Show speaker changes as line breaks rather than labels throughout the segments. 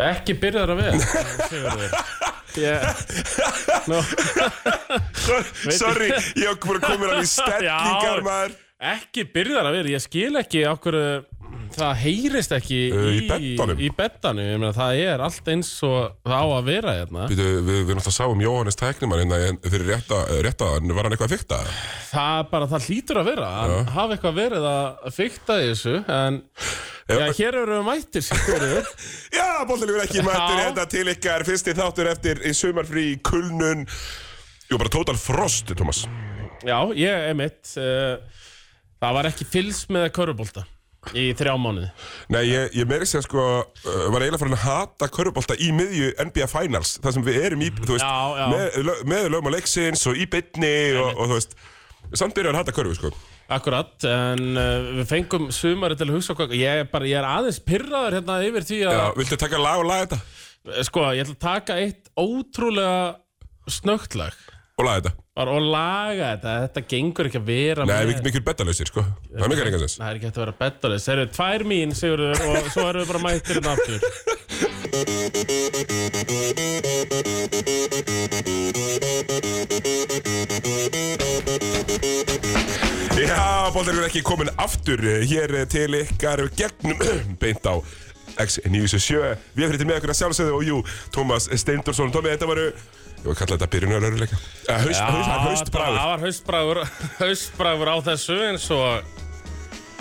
Ekki byrjar að vera Sigurður Ég, nú,
Sorry, ég hef bara komið hann í sterkingar
Já.
maður
Ekki byrjar að vera Ég skil ekki okkur Það heyrist ekki
Ö, í
í,
beddanum.
í beddanum. Ég meina, Það er allt eins og það á að vera hérna.
Býtu, við, við náttúrulega sáum Jóhannes tæknimann hérna en fyrir rétta, rétta, var hann eitthvað að fykta?
Það bara, það hlýtur að vera Hann
Já.
hafi eitthvað verið að fykta í þessu En já, hér eru við mættir Sigurður.
Já, bóttilegur ekki mættur
Já.
hérna til ykkar fyrsti þáttur eftir í sumarfrí í kulnun Jú, bara total frost, Thomas
Já, ég er mitt uh, Það var ekki fylgst með körubólta Í þrjá mánuði
Nei, ég, ég meiri sér sko, uh, var eiginlega farin að hata körfubolta í miðju NBA Finals þar sem við erum í, þú veist,
Já, já.
með, lög, með lögum á leiksins og í bytni og, og þú veist, samt byrjar að hata körfu sko
Akkurat, en uh, við fengum sumari til að hugsa okkur Ég er, bara, ég er aðeins pyrraður hérna yfir því að
Já, viltu taka lag og laga þetta?
Sko, ég ætla að taka eitt ótrúlega snögt lag
Og laga þetta?
Bara og laga þetta, þetta gengur ekki að vera
Nei,
með
við mikil betalausir sko, það er mikil reyngastins
Það er ekki hægt að vera bettalis Það eru tvær mín, Sigurður, og svo erum við bara mættir hérna aftur
Já, bóttilegur ekki komin aftur eh, hér eh, til ykkar gegnum beint á X977 Við erum fyrir með ykkur að sjálfsögðu og jú, Tómas Steindorsson Tómi, þetta voru, ég var að kalla þetta byrjunaröruleika Eh, Haust,
Já,
haust, haust bráður
Það var haustbræður, haustbræður á þessu eins og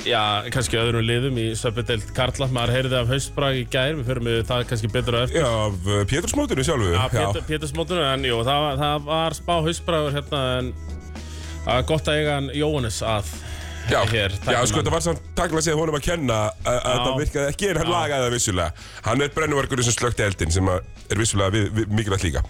Já, kannski öðrum liðum í Söpudelt Karla Maður heyrði af haustbræð í gær Við förum við það kannski betur á eftir
Já, af eh, Pétursmótinu sjálfu
Já, Pétur- Pétursmótinu, en jú, það, var- það var spá haustbræður hérna en það var gott að eiga hann Jóhannes að
Já,
hér,
já
tæknimann.
sko þetta var samt takla séð honum að kenna að að þetta virkaði ekki en hann lagaði það vissulega. Hann er brennuvarkurinn sem slökti eldin sem að er vissulega við, við, mikilvægt líka.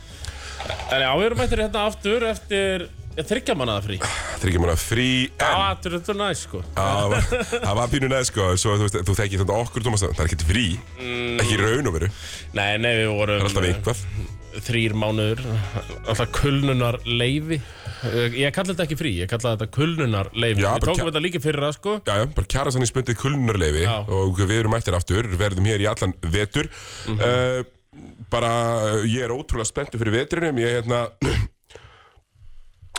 En já, við erum mættir hérna aftur eftir þryggja mannaða frí Ah,
Þryggjum hann að frí
Já,
en
þetta er þetta er næs, sko
það var- það var pínu neð sko, svo, þú, veist, þú þekkir þetta okkur Tómas, það er ekkert frí, ekki í raun og veru,
Nei, Mm. nei, við vorum
það er alltaf einhvað.
þrýr mánuður alltaf kulnunar leifi ég kalla þetta ekki frí, ég kalla þetta kulnunar leifi
Já,
við
bara
tókum
kja-
þetta líka fyrra sko
Já, já, bara kjara sann í spöndið kulnarleifi
Já.
og við erum mættir aftur, verðum hér í allan vetur.
Mhm.
uh, bara, uh, ég er ótrúlega spenntur fyrir veturinum, ég er hérna,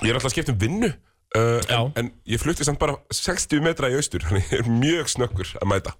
ég er alltaf að skipta um vinnu. Uh,
Já.
en, en ég flutti samt bara 60 metra í austur, þannig ég er mjög snökkur að mæta.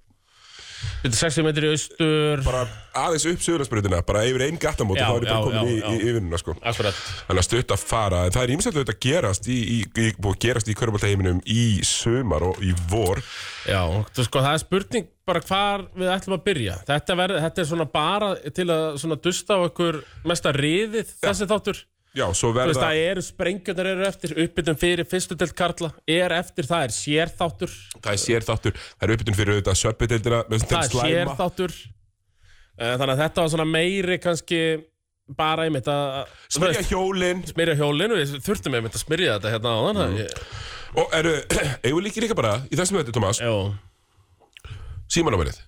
Þetta er 60 metri í austur
Bara aðeins upp sögurlandsbrutina, bara yfir einn gattamót og
Já,
þá er ég bara
já,
komin
já,
í,
já.
í, í vinnuna sko.
akkurat,
Þannig að stutt að fara, en það er ímsættu auðvitað gerast í, í, í, búið að gerast í körbáltaheiminum í sömar og í vor.
já, þú sko það er spurning bara hvar við ætlum að byrja þetta, verð, þetta er svona bara til að svona dusta á okkur mesta riðið þessi þáttur
Já, svo
Þú veist,
verða...
það eru sprengjöndar eru eftir, uppbytum fyrir fyrstu delt Karla, er eftir, það er sérþáttur,
Það er sérþáttur, það er uppbytun fyrir auðvitað söpbydeildina
það er sérþáttur Eh, þannig að þetta var svona meiri kannski bara einmitt að þú veist-
Smyrja hjólin
smyrja hjólinu, við þurftum einmitt að smyrja þetta hérna áðan mm.
Og eru, eigum við líkir líka bara í þessum þetta, Tomás
Jó,
Símanúmerið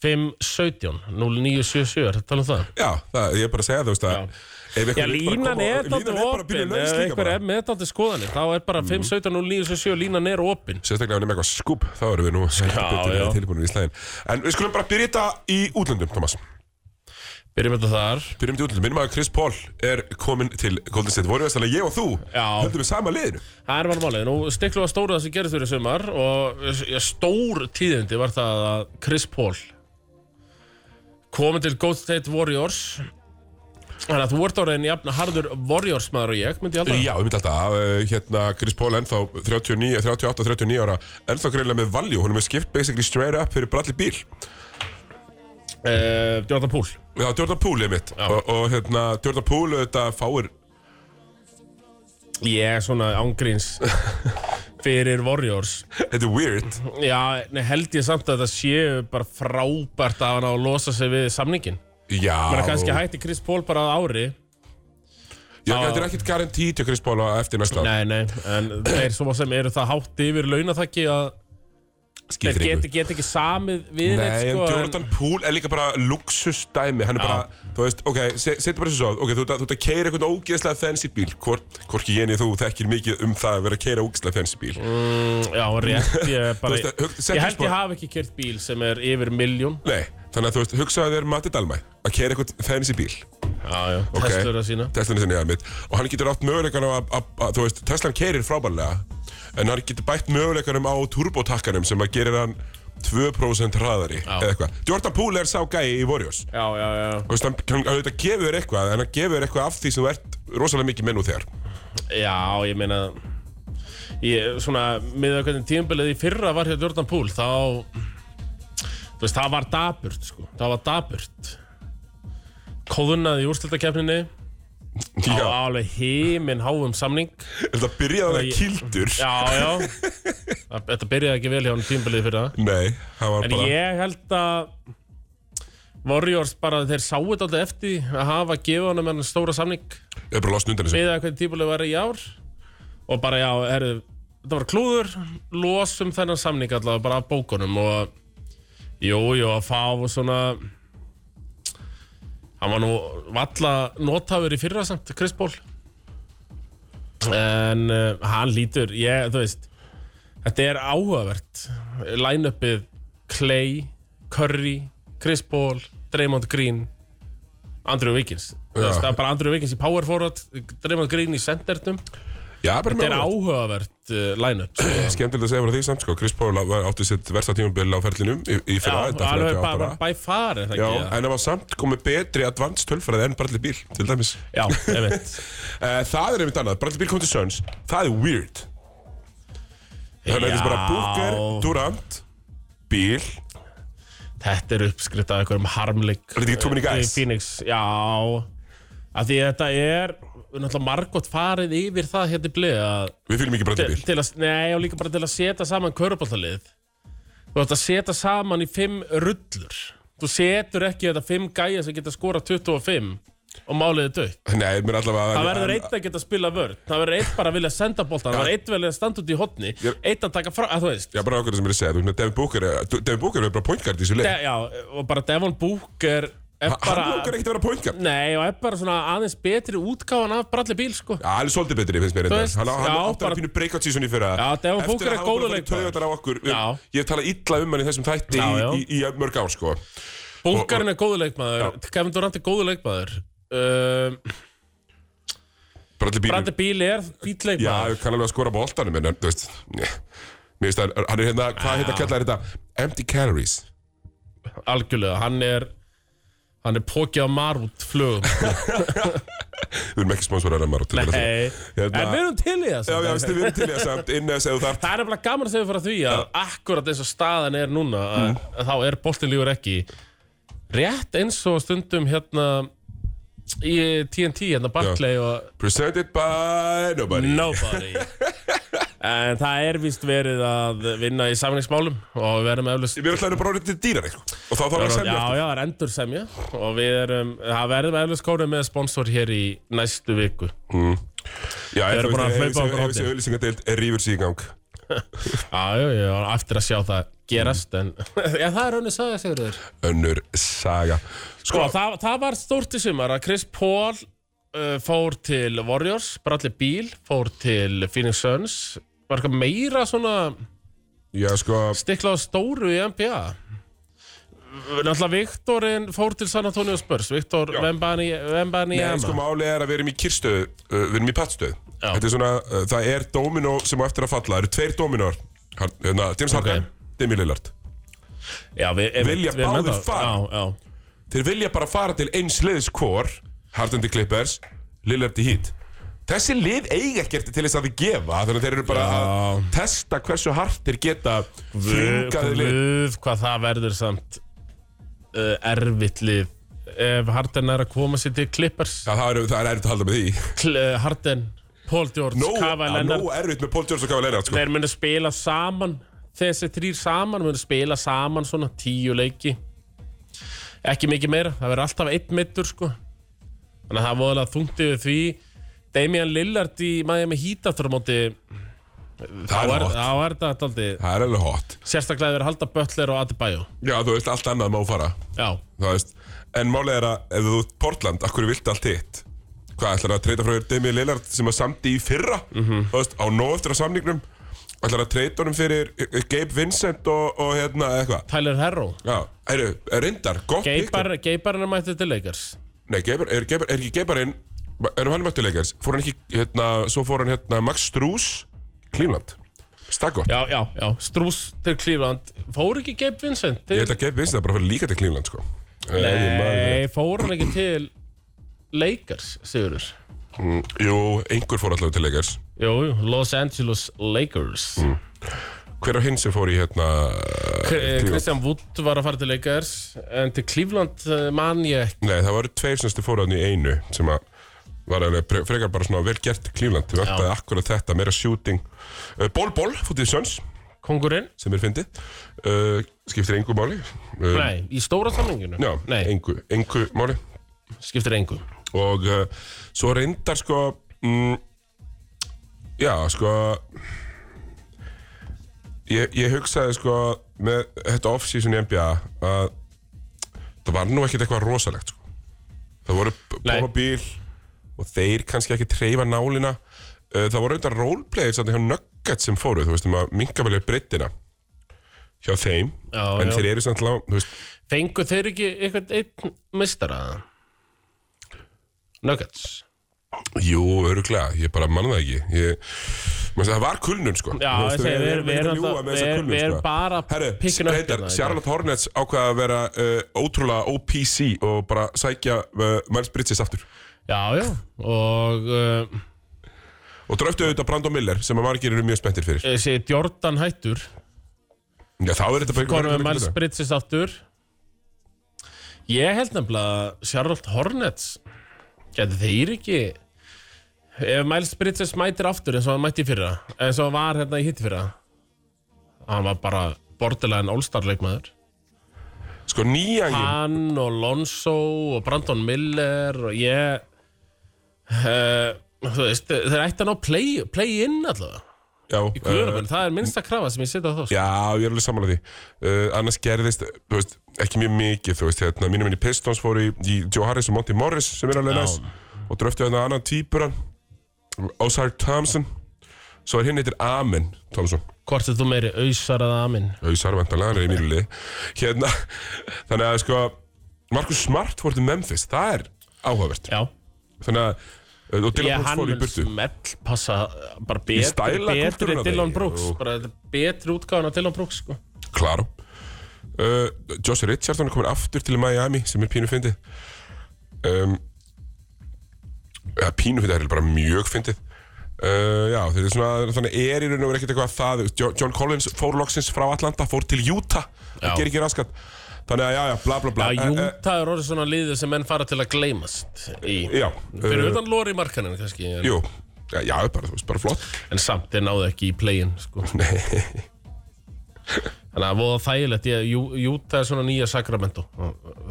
517 0977, er þetta tala um það?
Já, það, ég er bara að segja þú veist að
Já.
ef einhver
Já,
vill bara
línan
koma-
er
línan
dátum
bara að byrja
opinn,
laus
ef
líka
einhver Mhm.
bara
er með dátum skoðanir, þá er bara 517 0977, línan er opinn.
Sérstaklega ef við nefnum eitthvað skúb, þá erum við nú
já.
tilbúinir í slæðin En við skulum bara byrja þetta í útlöndum, Tomás
Byrjum þetta þar.
Byrjum þetta í útlöndum, minn maður Chris Paul er kominn til Golden State Warriors Þannig að ég og þú
Já.
höldum við sama liðinu
Það er bara málið, nú stiklum við að stóra það sem gerist fyrir í sumar og ja, stór tíðindi var það að Chris Paul komið til Goat State Warriors Þannig að þú ert orðin jafn harður Warriors maður og ég, myndi ég alltaf
Já, við myndum alltaf uh, hérna Chris Paul ennþá 39, 38, 39 ára ennþá greiðlega með value, hún er með skipt basically straight up fyrir Bradley Beal
uh, Jordan Poole
Já, Jordan Poole er mitt og, og hérna, Jordan Poole auðvitað fáir
Ég er svona ángríns fyrir Warriors
þetta er weird
Já, nei, held ég samt að það séu bara frábært að hann á að losa sig við samningin
Já,
Bara kannski hætti Chris Paul bara að ári
Já, þetta er ekkert garantí til Chris Paul á eftir næsta
Nei, nei, en þeir svo sem eru það hátt yfir launathakki að þeir
Skýtir
get,
ykkur
get ekki samið við
Nei,
neitt,
en
sko,
Jordan Poole er líka bara luxusdæmi Hann er bara, þú veist, ok, se- setjum bara þessu svo Ok, þú ert að- þú ert að keira einhvern ógeðslega fancy bíl Hvort, hvorki ég niður þú þekkir mikið um það að vera að keira ógeðslega fancy bíl
mm, Já, rétt, ég,
Þú
bara,
veist, hug- setjum
ég held
spór-
ég hafi ekki kert bíl sem er yfir miljón
Nei, Þannig að þú veist, hugsaðu þér Matti Dalmæ að kera eitthvað fancy bíl
Já, já,
ok?
Teslur að sína
Teslan er sinni að mitt Og hann getur átt möguleikanum að, að, að Þú veist, Teslan kerir frábærlega En hann getur bætt möguleikanum á turbotakkanum Sem að gerir hann 2% hraðari
Já.
Eða eitthvað Jordan Poole er sá gæi í Warriors
Já, já, já,
Þú veist, hann, hann auðvitað gefur þér eitthvað En hann gefur þér eitthvað af því sem þú ert rosalega mikið menn úr þér
já, ég meina ég, Svona, með að hvernig tímbilið í fyrra var hjá Jordan Poole Þá, þú veist, það var daburt, sko Það var daburt Kóðunnað í úrstiltakefninni
Já,
Á alveg híminn háum samning
þetta byrjaði hann
Ég-
að kildur
Já, já Það- Þetta byrjaði ekki vel hjá hann tímbilið fyrir það
Nei, hann var
En
bara
ég held að Warriors bara, þeir sáu þetta alltaf eftir því að hafa gefið honum hann stóra samning
Ég er bara losn undan þessu
miðað hvernig tíbuleg var í ár og bara já, herru, þetta var klúður losum þennan samning allavega bara af bókunum og jú, jú, að fá og svona hann var nú valla notafur í fyrra samt, Chris Paul en uh, hann lítur, ég, þú veist þetta er áhugavert line-upið Clay Curry, Chris Paul Draymond Green Andrew Wiggins, þú
Já.
veist, það er bara Andrew Wiggins í power forward, Draymond Green í sendertum
Já, bara
þetta er
mögulegt.
áhugavert uh, line-up sko.
Skemmtilegt að segja bara því samt sko Chris Paul var- átti sitt versta tímabil á ferlinum í, í
Já,
fyrra þetta
alveg bara,
38
bara
ára.
by far er það
Já,
ekki það?
en það var samt komið betri advanced tölfræði en Bradley Beal, til dæmis.
Já, ég veit
Uh, það er einmitt annað, Bradley Beal kom til Suns, það er weird. Það er bara Booker, Durant, Beal,
Þetta er uppskrift af einhverjum harmleik
Er þetta ekki too many
eh,
guys?
í Phoenix, já af því þetta er við erum náttúrulega margótt farið yfir það hérna í blið að
við fylgjum ekki Bradley
til,
Beal.
til að, nei, og líka bara til að setja saman köruboltalið þú ætti að setja saman í fimm rullur þú setur ekki þetta fimm gæja sem geta skora 25 og máliði dött
Nei, mér allavega...
það verður eitt að geta að spila vörn það verður eitt bara að vilja senda boltan það verður eitt vel að standa út í hotni
Ég-
eitt að taka frá, að þú veist
Já, bara okkur sem ég er að segja, þú veist, Devin Booker, eh, Devin Booker er bara point guard í þessu leik.
De, já, og bara Devon Booker er
Hann lókar
bara
ekkert að vera point guard.
nei, og er bara svona aðeins betri útgáfan af bralli bíl, sko
Já, hann er svolítið betri, finnst mér reyndar.
veist,
Hann, hann
já,
átti
bara-
að pínu breakout season í fyrra.
Já, Devin Booker er góður
Eftir að
leikmaður.
hafa bara farið taugarnar á okkur.
Já.
Við- Ég hef talað illa um hann í þessum þætti
Já, já.
í, í, í mörg ár, sko.
Bunkarinn er góðu leikmaður, Kevin Durant er góðu leikmaður um,
Bradley Beal er
Brandi Bíl er
Já,
bílleikmaður
ég kann alveg að skora boltanum en en, þú veist Mér finnst að hann er hérna, hvað hérna kallar þetta? Empty calories
algjörlega, hann er hann er pókið á marút flugum
Við erum ekki sponsorar að margt
Nei, en
Hérna-
við erum til í það
Já,
samt.
já, veistu, við erum til í það samt inn að segja þú þart
það er nefnilega gaman að segja fyrir því að akkurat eins og staðan er núna að,
Mm.
að þá er boltin lífur ekki rétt eins og stundum hérna í TNT hérna Barclay og
Presented by nobody
Nobody En það er víst verið að vinna í samlingsmálum og við erum eflust
Við erum alltaf bara orðið til dýrar eitthvað Og þá þá var að
Já,
semja
já,
eftir
það er endur semja og við erum, það verðum eflust kórið með sponsor hér í næstu viku
Já,
Við erum búin að hlaupa okkur
Ef þessi auðlýsingadeild er rífur sig í gang
Já, já, já, eftir að sjá það gerast en Já, það er önnur saga, Sigurður
Önnur saga
Sko,
Sko,
það, það var stórt í sumar að Chris Paul uh, fór til Warriors, Bradley Beal fór til Phoenix Suns var eitthvað meira svona
já, sko
stiklað á stóru í NBA Náttúrulega Viktorinn fór til San Antonio Spurs Viktor Vembani
Nei, sko
Jama
máli er að við erum í kyrstöðu, uh, við erum í pattstöðu.
Já.
Þetta er svona, uh, það er dóminó sem á eftir að falla. Það eru tveir dóminóar. Har- Hérna, James Harden, Demi Lillard.
Já, við einmitt,
Vilja
við erum
báðir
ennþá-
fara.
Já, já
Þeir vilja bara fara til eins liðs hvor, Harden til Clippers, Lillard til Heat. Þessi lið eiga ekkert til þess að þið gefa, þannig að þeir eru bara að testa hversu hart þeir geta þringaði lið.
Guð, hvað það verður samt uh, erfitt lið ef Harden er að koma sér til Clippers
Já, það er, það er erfitt að halda með því.
Kl uh, Harden, Paul George,
Nó,
Kava
að
Lennar
nóg erfitt með Paul George og Kava Lennart, sko.
þeir munu spila saman þessi þrýr saman, munu spila saman svona tíu leiki ekki mikið meira, það verður alltaf einn mittur sko þannig að það er voðalega þungti við því Damian Lillard í Miami Heat aftur á móti þá
Það er
er,
hot.
þá er þetta alltaf
Það er alveg hot.
sérstaklega þeir halda Butler og Adebayo
Já, þú veist, allt annað má fara.
já,
Þú veist, en málið er að ef þú ert Portland, akkur viltu allt hitt?
Mhm.
Hvað ætlar að treyta frá þér Demi Lillard sem að samdi í fyrra? Þú veist, á nóg eftir á samningnum ætlar að treyta honum fyrir eh, eh, Gabe Vincent og, og hérna eitthvað
Tyler Herro
Já, eru, reyndar, gott pick.
Geibar, Geibarinn er mættið til leikars
Nei, Geibar, er, Geibar, er ekki Geibarinn Erum hann möttuleikars Fór hann ekki, hérna, svo fór hann hérna Max Strús, Cleveland Staggott,
Já, já, já, Strús til Cleveland Fór ekki Gabe Vincent
ég
til
held að Gabe Vincent er bara fyrir líka til Cleveland, sko Nei, ég man-
Nei, fór hann ekki til Lakers, Sigurður
Mm, Jú, einhver fór allavega til leikars
Jú, jú, Los Angeles Lakers
Mm, Hver á hinn sem fór í, hérna
K- eh,
Cleveland?
Christian Wood var að fara til Lakers En til Cleveland eh, man ég ekki
Nei, það voru tveir sem stu fóru hann í einu sem að var alveg pre- frekar bara svona vel gert í Cleveland Við vantaði akkurat þetta, meira shooting Uh, Ból Ból, fótið Söns,
Kongurinn?
sem er fyndið uh, Skiptir engu máli uh,
Nei, í stóra samlinginu?
Já,
Nei,
engu, engu máli
skiptir engu
Og uh, svo reyndar sko mm, Já, sko Ég, ég hugsaði sko með þetta off-season í NBA að það var nú ekkert eitthvað rosalegt sko. Það voru
Nei.
Boba Bíl og þeir kannski ekki treyfa nálina Uh, Það voru auðvitað roleplayers að hjá Nuggets sem fóru, þú veist, um að minga vel er breyttina hjá þeim,
Já,
en
já.
þeir eru samt lág, þú veist,
Fengu þeir ekki eitthvað einn mistara? Nuggets
Jú, öruglega, ég bara manna það ekki ég, maður, Það var kulnun sko
Já,
Þú veist,
ég segi, við erum- við
erum ekki
erum
að ljúga
alltaf-
með þessa
við erum-
kulnun,
við erum
sko.
bara að
Herru,
picka upp
reyndar,
hérna í dag.
Charlotte Hornets ákvaða að vera uh, ótrúlega OPC og bara sækja uh, Miles Bridges aftur
Já, já, og uh,
og dröftu auðvitað Brandon Miller sem að margir eru mjög spenntir fyrir
þessi Jordan hættur
Já, þá er þetta bara
konum við Miles
þetta.
Bridges aftur Ég held nefnilega að Charlotte Hornets geti þeir ekki ef Miles Bridges mætir aftur eins og hann mætti í fyrra eins og hann var hérna í hitt fyrra hann var bara borderline all-star leikmaður
Sko nýja ég
hann og Lonzo og Brandon Miller og ég uh, þú veist, þeir ætti að ná play, play in allavega
Já,
í kvöðunum, það er minnsta krafa sem ég setja á þá sko.
Eh, Já, ég er alveg samanlega því uh, Annars gerðist, þú veist, ekki mjög mikið Þú veist, hérna, mínum minni Pistons fóru í, í Joe Harris og Monty Morris sem er alveg
Já.
næs Og dröftu hérna annan týpuran Ozark Thompson Svo er hinn heitir Amen Thompson
Hvort er þú meiri auðsar eða amin?
Auðsar vantanlega, hann er í mínu lið Hérna, þannig að sko Marcus Smart fór til Memphis, það er áhugavert
Já,
Þannig að, uh, og Dylan
ég
Brooks
hann
fór í
mun
burtu
smell passa bara betri,
stæla
betri
kúltúruna
Dylan
þegi,
Brooks
jú.
bara þetta er betri útgáðan af Dylan Brooks sko.
Klaro uh, Josh Richardson er komin aftur til Miami sem er pínu fyndið um, ja, Pínu fyndið er bara mjög fyndið uh, Já, þetta er svona þannig er í raun og verið ekkert eitthvað það Jo- John Collins fór loksins frá Atlanta fór til Utah,
Já.
það ger ekki raskat Þannig að já, já, bla bla bla
Já,
Eh, eh,
Júta er orðið svona liðið sem menn fara til að gleymast í,
Já,
fyrir
eh,
utan Lori Markanen kannski, en,
Jú, já, já, bara, þú veist, bara flott
en samt þeir náðu ekki í play-in sko.
Nei,
þannig að það voða þægilegt ég, Jú, Júta er svona nýja Sacramento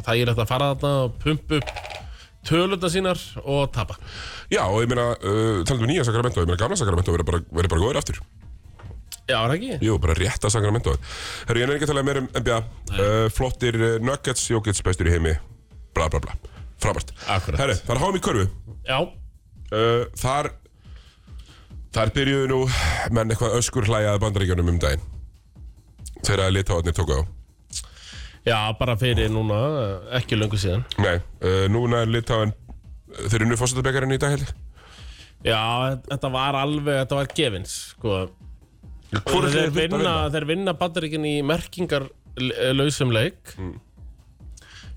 þægilegt að fara þarna og pumpa upp tölunda sínar og tapa
Já, og ég meina, uh, talandum við nýja Sacramento, ég meina gamla Sacramento verið bara, verið bara góður aftur
Já, er það ekki?
Jú, bara rétt að Sacramento Herru, ég er ekki að tala meir um NBA uh, Flottir uh, Nuggets, Jokic bestur í heimi Bla bla bla, frábært
Akkurat.
Herru, það er háum í körfu
Já,
uh, Þar Þar byrjuðu nú menn eitthvað öskur hlæjaði bandaríkjunum um daginn Þegar að litáðarnir tóku á
já, bara fyrir núna eh, ekki löngu síðan
Nei, uh, núna er litáðan Þeir eru nú fórsetabekkarinn í dag heldur
Já, þetta var alveg, þetta var gefins sko.
Hvor er
þeir,
þeir þurft að
vinna,
vinna?
þeir vinna bandaríkin í merkingarlausum leik
Hmm.
mm.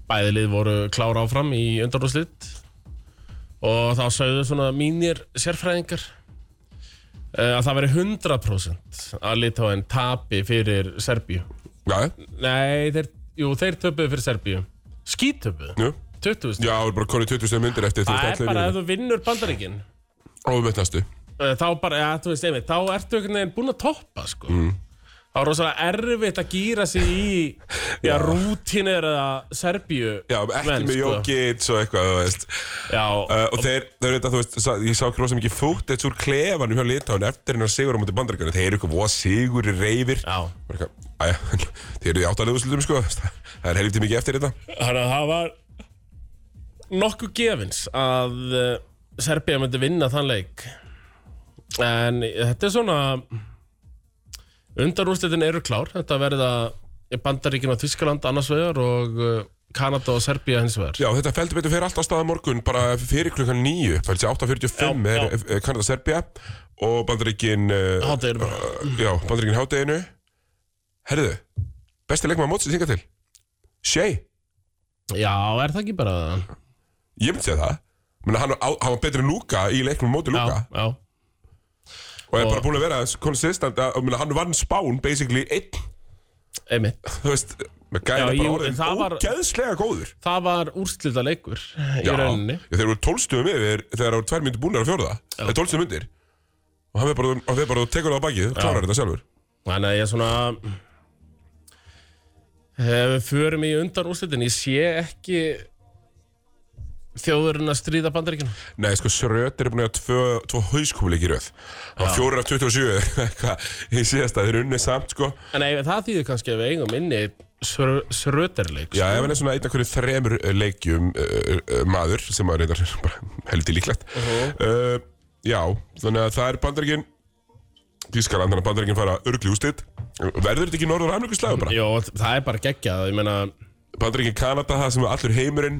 Bæði lið voru klára áfram í undanrúslitt og þá sögðu svona mínir sérfræðingar eh, að það veri 100% að Litáin tapi fyrir Serbíu
Já,
Nei, þeir, jú, þeir töpuðu fyrir Serbíu Skítöpuðu,
jú
20
Já, það er bara konið 20 myndir eftir
Það er bara ef þú vinnur bandaríkin
Óveitt næstu
Eh, þá bara, ja, þú veist, einmitt, þá ertu einhvern veginn búinn að toppa, sko.
Mm.
Það var rosalega erfitt að gýra sig í já, rútinir eða Serbíu
Já, ekki með Jokic og eitthvað, þú veist
Sko. Já,
Uh, og þeir, þeir veit að þú veist, sa- ég sá ekki rosa mikið fútt eitt úr klefanum hjá Litáin eftir hennar sigur á móti bandaríkjörnum, þeir eru eitthvað voða sigur reyfir
Já.
Bara eitthvað, æja, þeir eru í áttaleguslutum sko, það er helviti mikið eftir þetta
þannig að það var nokkuð gefins að eh, Serbía myndi vinna þann leik. En þetta er svona, Undarúrslitin eru klár, þetta verða Bandaríkin og Þískaland annars vegar og uh, Kanada og Serbía hins vegar
Já, þetta feldur betur fyrir allt á staða morgun bara fyrir klukkan 9, fælst 8.45
Já,
er
já.
eh, Kanada Serbia og bandaríkin uh,
Hátteginu bara
Já, bandaríkin hádeginu Herðu, besti leikmaður mótsins hinga til Shea,
Já, er það ekki bara
ég myndi segja það Menna, hann, á, hann var betri en Luka í leiknum móti
Já,
Luka
já
og er
og-
bara búin að vera konsistent að, menna, hann vann spán basically einn
Einmitt.
þú veist, með gæna
Já,
bara
ég-
orðin
það var-
ógeðslega góður
Það var úrslita leikur í
Já,
rauninni
já, þeir eru tólstöðum yfir þegar það eru tvær myndir búnar að fjóra það er tólstöðum myndir og hann er bara, hann er bara og tekur það á bakið, klárar þetta sjálfur
Þannig að ég svona Ef við förum í undan úrslitin Ég sé ekki Þjóðurinn að stríða bandaríkina
Nei, sko, Schröter er búin að hafa tvö, tvö hauskúmuleik í röð hann fjórar af 27 eitthvað, í síðasta, þeir unni samt, sko
En nei, það þýðir kannski að við eigum inni sko. Sröterleik
Já, ef hann er svona einn af hverju þremur eh, leikjum uh, uh, maður sem maður reyndar bara heldur líklegt
Uh-huh.
uh, Já, þannig að það er bandaríkin Þískaland, þannig að bandaríkin fara örgli ústitt Verður þetta ekki norður amrikuslæðu bara?
Jó, það er bara geggjað Mm, Ég meina,
Bandaríkin Kanada, það sem allur heimurinn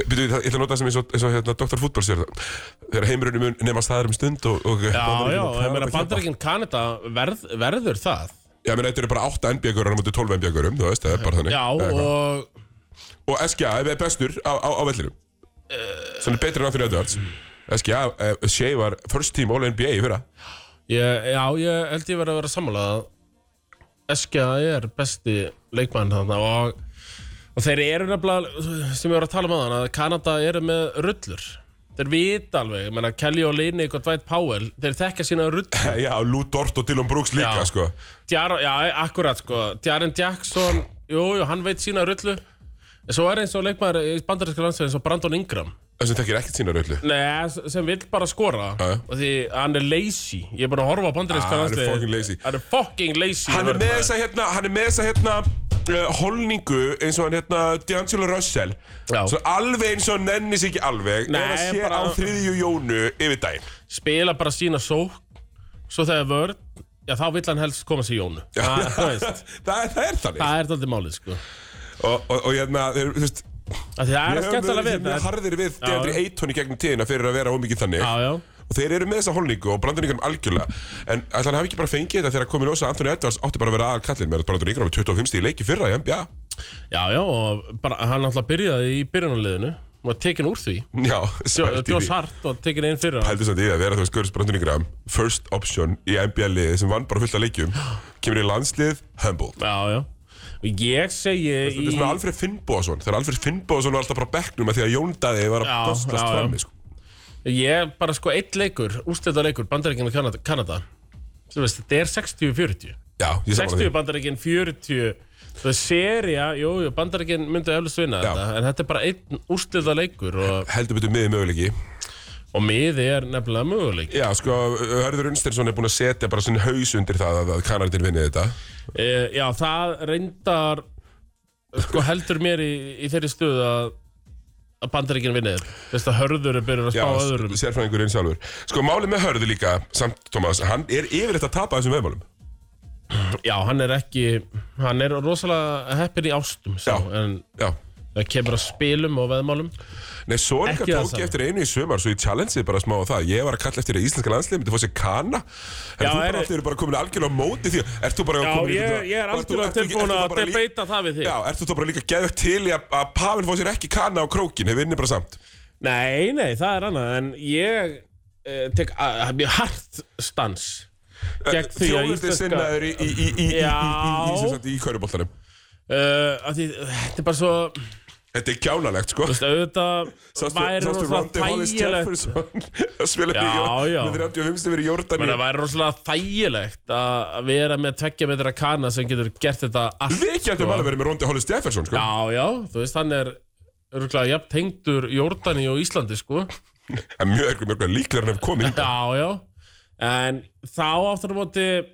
Býtu, ég ætla að nota það sem eins og, eins og hérna, Dr. Fútbol sér það Þegar heimurinn mun nema staðar um stund og, og
já,
Bandaríkin
já,
og
ég meina
Kanada keppa.
bandaríkinn Kanada verð, verður það
Já, menn, þetta eru bara 8 NBA-görar á móti 12 NBA-görum, þú veist, það er bara þannig
Já,
Eða eitthvað.
og
Og SGA er bestur á, á, á vellinum Sem er betri en Anthony Edwards SGA, uh, Shea var first team All-NBA í fyrra
ég, Já, ég held ég verið að vera sammálað Eskja er besti leikmann þarna og, og þeir eru nefnilega sem ég var að tala um aðan að Kanada eru með rullur Þeir vita alveg, ég meina Kelly og Leinik og Dwight Powell þeir þekka sína rull
Já, Lou Dort og Dylan Brooks líka,
Já.
sko
Djar, já, akkurat sko Djarin Jackson, jú, jú, hann veit sína rullu En svo er eins og leikmaður í bandarinska landsveginn svo Brandon Ingram
Þessum þekkir ekkert sína röllu
Nei, s- sem vill bara skora
Já, já.
og því hann er lazy Ég er bara að horfa á
Ah,
bandarinska
hann er
landsveginn
fucking lazy.
Hann er fucking lazy
Hann er með
vörðmaður.
þessa hérna, hann er með þessa hérna uh, holningu eins og hann hérna D'Angelo Russell
Já.
Svo alveg eins og hann nenni sig ekki alveg
Nei,
Nei, eða sé
bara-
á þriðju jónu yfir daginn
Spila bara sína sók Svo þegar vörð, já þá vill hann helst koma sér í jónu Þa, Það veist,
það, er- það er þannig
það er daldið málið sko
og, og, og hérna, þeir, þú veist
Af því Það er að skemmtilega
þeir
við
eru mjög
þetta.
harðir við
Já.
Deandre Ayton í gegnum tíðina fyrir að vera ómikið þannig
Já, já
Og þeir eru með þessa holningu og brandar yngram algjörlega En ætli hann hafi ekki bara fengið þetta þegar að komið ljósa að Anthony Edwards átti bara að vera aðal kallinn Með að brandar yngram 25 stíð í leiki fyrra í NBA
Já, já, og bara, hann alltaf byrjaði í byrjunarliðinu og var tekinn úr því
Já,
Jó-
svelt í því.
Josh Hart var tekin einn fyrir hann
heldur samt í það að vera þú veist Görðs Brandon Ingram first option í NBA-liði sem vann bara fullt af leikjum kemur í landslið humbled
Já, já Og ég segi
Þetta er
í...
svona Alfred Finnbóðsson þegar Alfred Finnbóðsson var alltaf bara á bekknum að því að Jón Daði var að
Já, já,
dostast
já.
frammi sko.
Ég bara sko eitt leikur, úrstæta leikur Bandaríkinn og Kanada, Kanada. Þú veist, Þetta er 60-40
Já, ég saman
60
því
Bandaríkinn, 40 Það er seria, jú, jú, Bandaríkinn myndi eflust vinna
Já.
þetta En þetta er bara einn úrstæta leikur og,
heldur betur miðið möguleiki
og miði er nefnilega möguleik
Já, sko, Hörður Unstensson er búinn að setja bara sinn haus undir það að, að Kanadin vinni þetta
e, Já, það reyndar sko heldur mér í, í þeirri stuð að að Bandaríkinn vinni þetta Þú veist að hörður er byrjur að
Já,
spá öðrum
sérfræðingurinn sjálfur Sko, málið með Hörður líka, samt Thomas hann er yfir þetta að tapa þessum veðmálum
Já, hann er ekki Hann er rosalega heppin í ástum sá,
Já.
En
Já,
það kemur að spilum og veðmálum
Nei, svo líka
Ekki það
tók ég
sama.
eftir einu í sumar Svo ég challengeði bara smá á það Ég var að kalla eftir að íslenska landslið myndi fá sér kana
Já,
En þú
er-
bara allir eru bara komin algjörlega á móti því að- Ert þú bara
Já,
komin í
ég,
einhvern-
ég er
og ert þú-
algjörlega
ert þú ekki-
tilbúin
ert þú
að
bara líka-
debata það við þig
Já, ert þú þá bara líka geðvegt til í að, að Pavin fá sér ekki kana á krókin Hefur vinni bara samt
Nei, nei, það er annað En ég eh, tek að- að mjög hart stans
Eh,
Gegn því að
Þjóðurði
íslenska
sinnaður í, í, í, í, í, í, í, í, sem
Já.
sagt í, í kauruboltanum
uh, af því, Þetta er bara svo Þú
Þetta er kjánalegt sko
veist, auðvitað væri
Sástu Rondi
rosalega
Hollis
þægilegt
Jefferson Að spila
Já, já.
með 35 stifir í Jórdan
Það væri rosalega þægilegt að að vera með tveggja metra kana sem getur gert þetta allt sko.
Við gætum alveg verið með Rondi Hollis Jefferson sko
Já, já, þú veist, hann er örgulega jafn tengdur Jordani og Íslandi, sko
En mjög ergur mjög líklega hann hef komið hingað.
Já, já En þá aftur á móti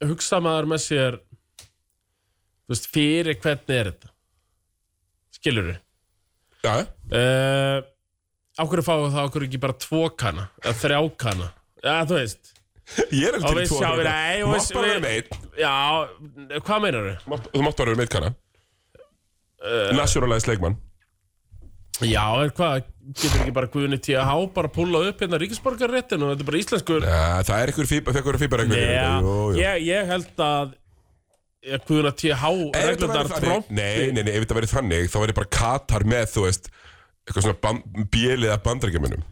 hugsa maður með sér þú veist, fyrir hvernig er þetta skilur við
Já, já.
Eh, uh, á hverju fáum við það á hverju ekki bara tvo kana eða þrjá kana, já þú veist
Ég er
Og
alveg til í
við
tvo
sjáum, nei, og
Þú
við-
mátt bara vera
við-
með einn
Já, hvað meinar þau?
Mátt- Þú mátt bara vera með einn kanna Naturalized leikmann
Já, en hvað, getur ekki bara Guðni T.H. bara púla upp hérna ríkisborgarréttin og þetta er bara íslenskur
Ja, Það er ykkur fíbar, fekkur fíbar
Já, ég, ég held að ja, Guðna T.H. reglundar tromp
Nei, nei, nei, ef þetta verið þannig þá verið bara Katar með, þú veist eitthvað svona ban bjeliða bandarækjumunum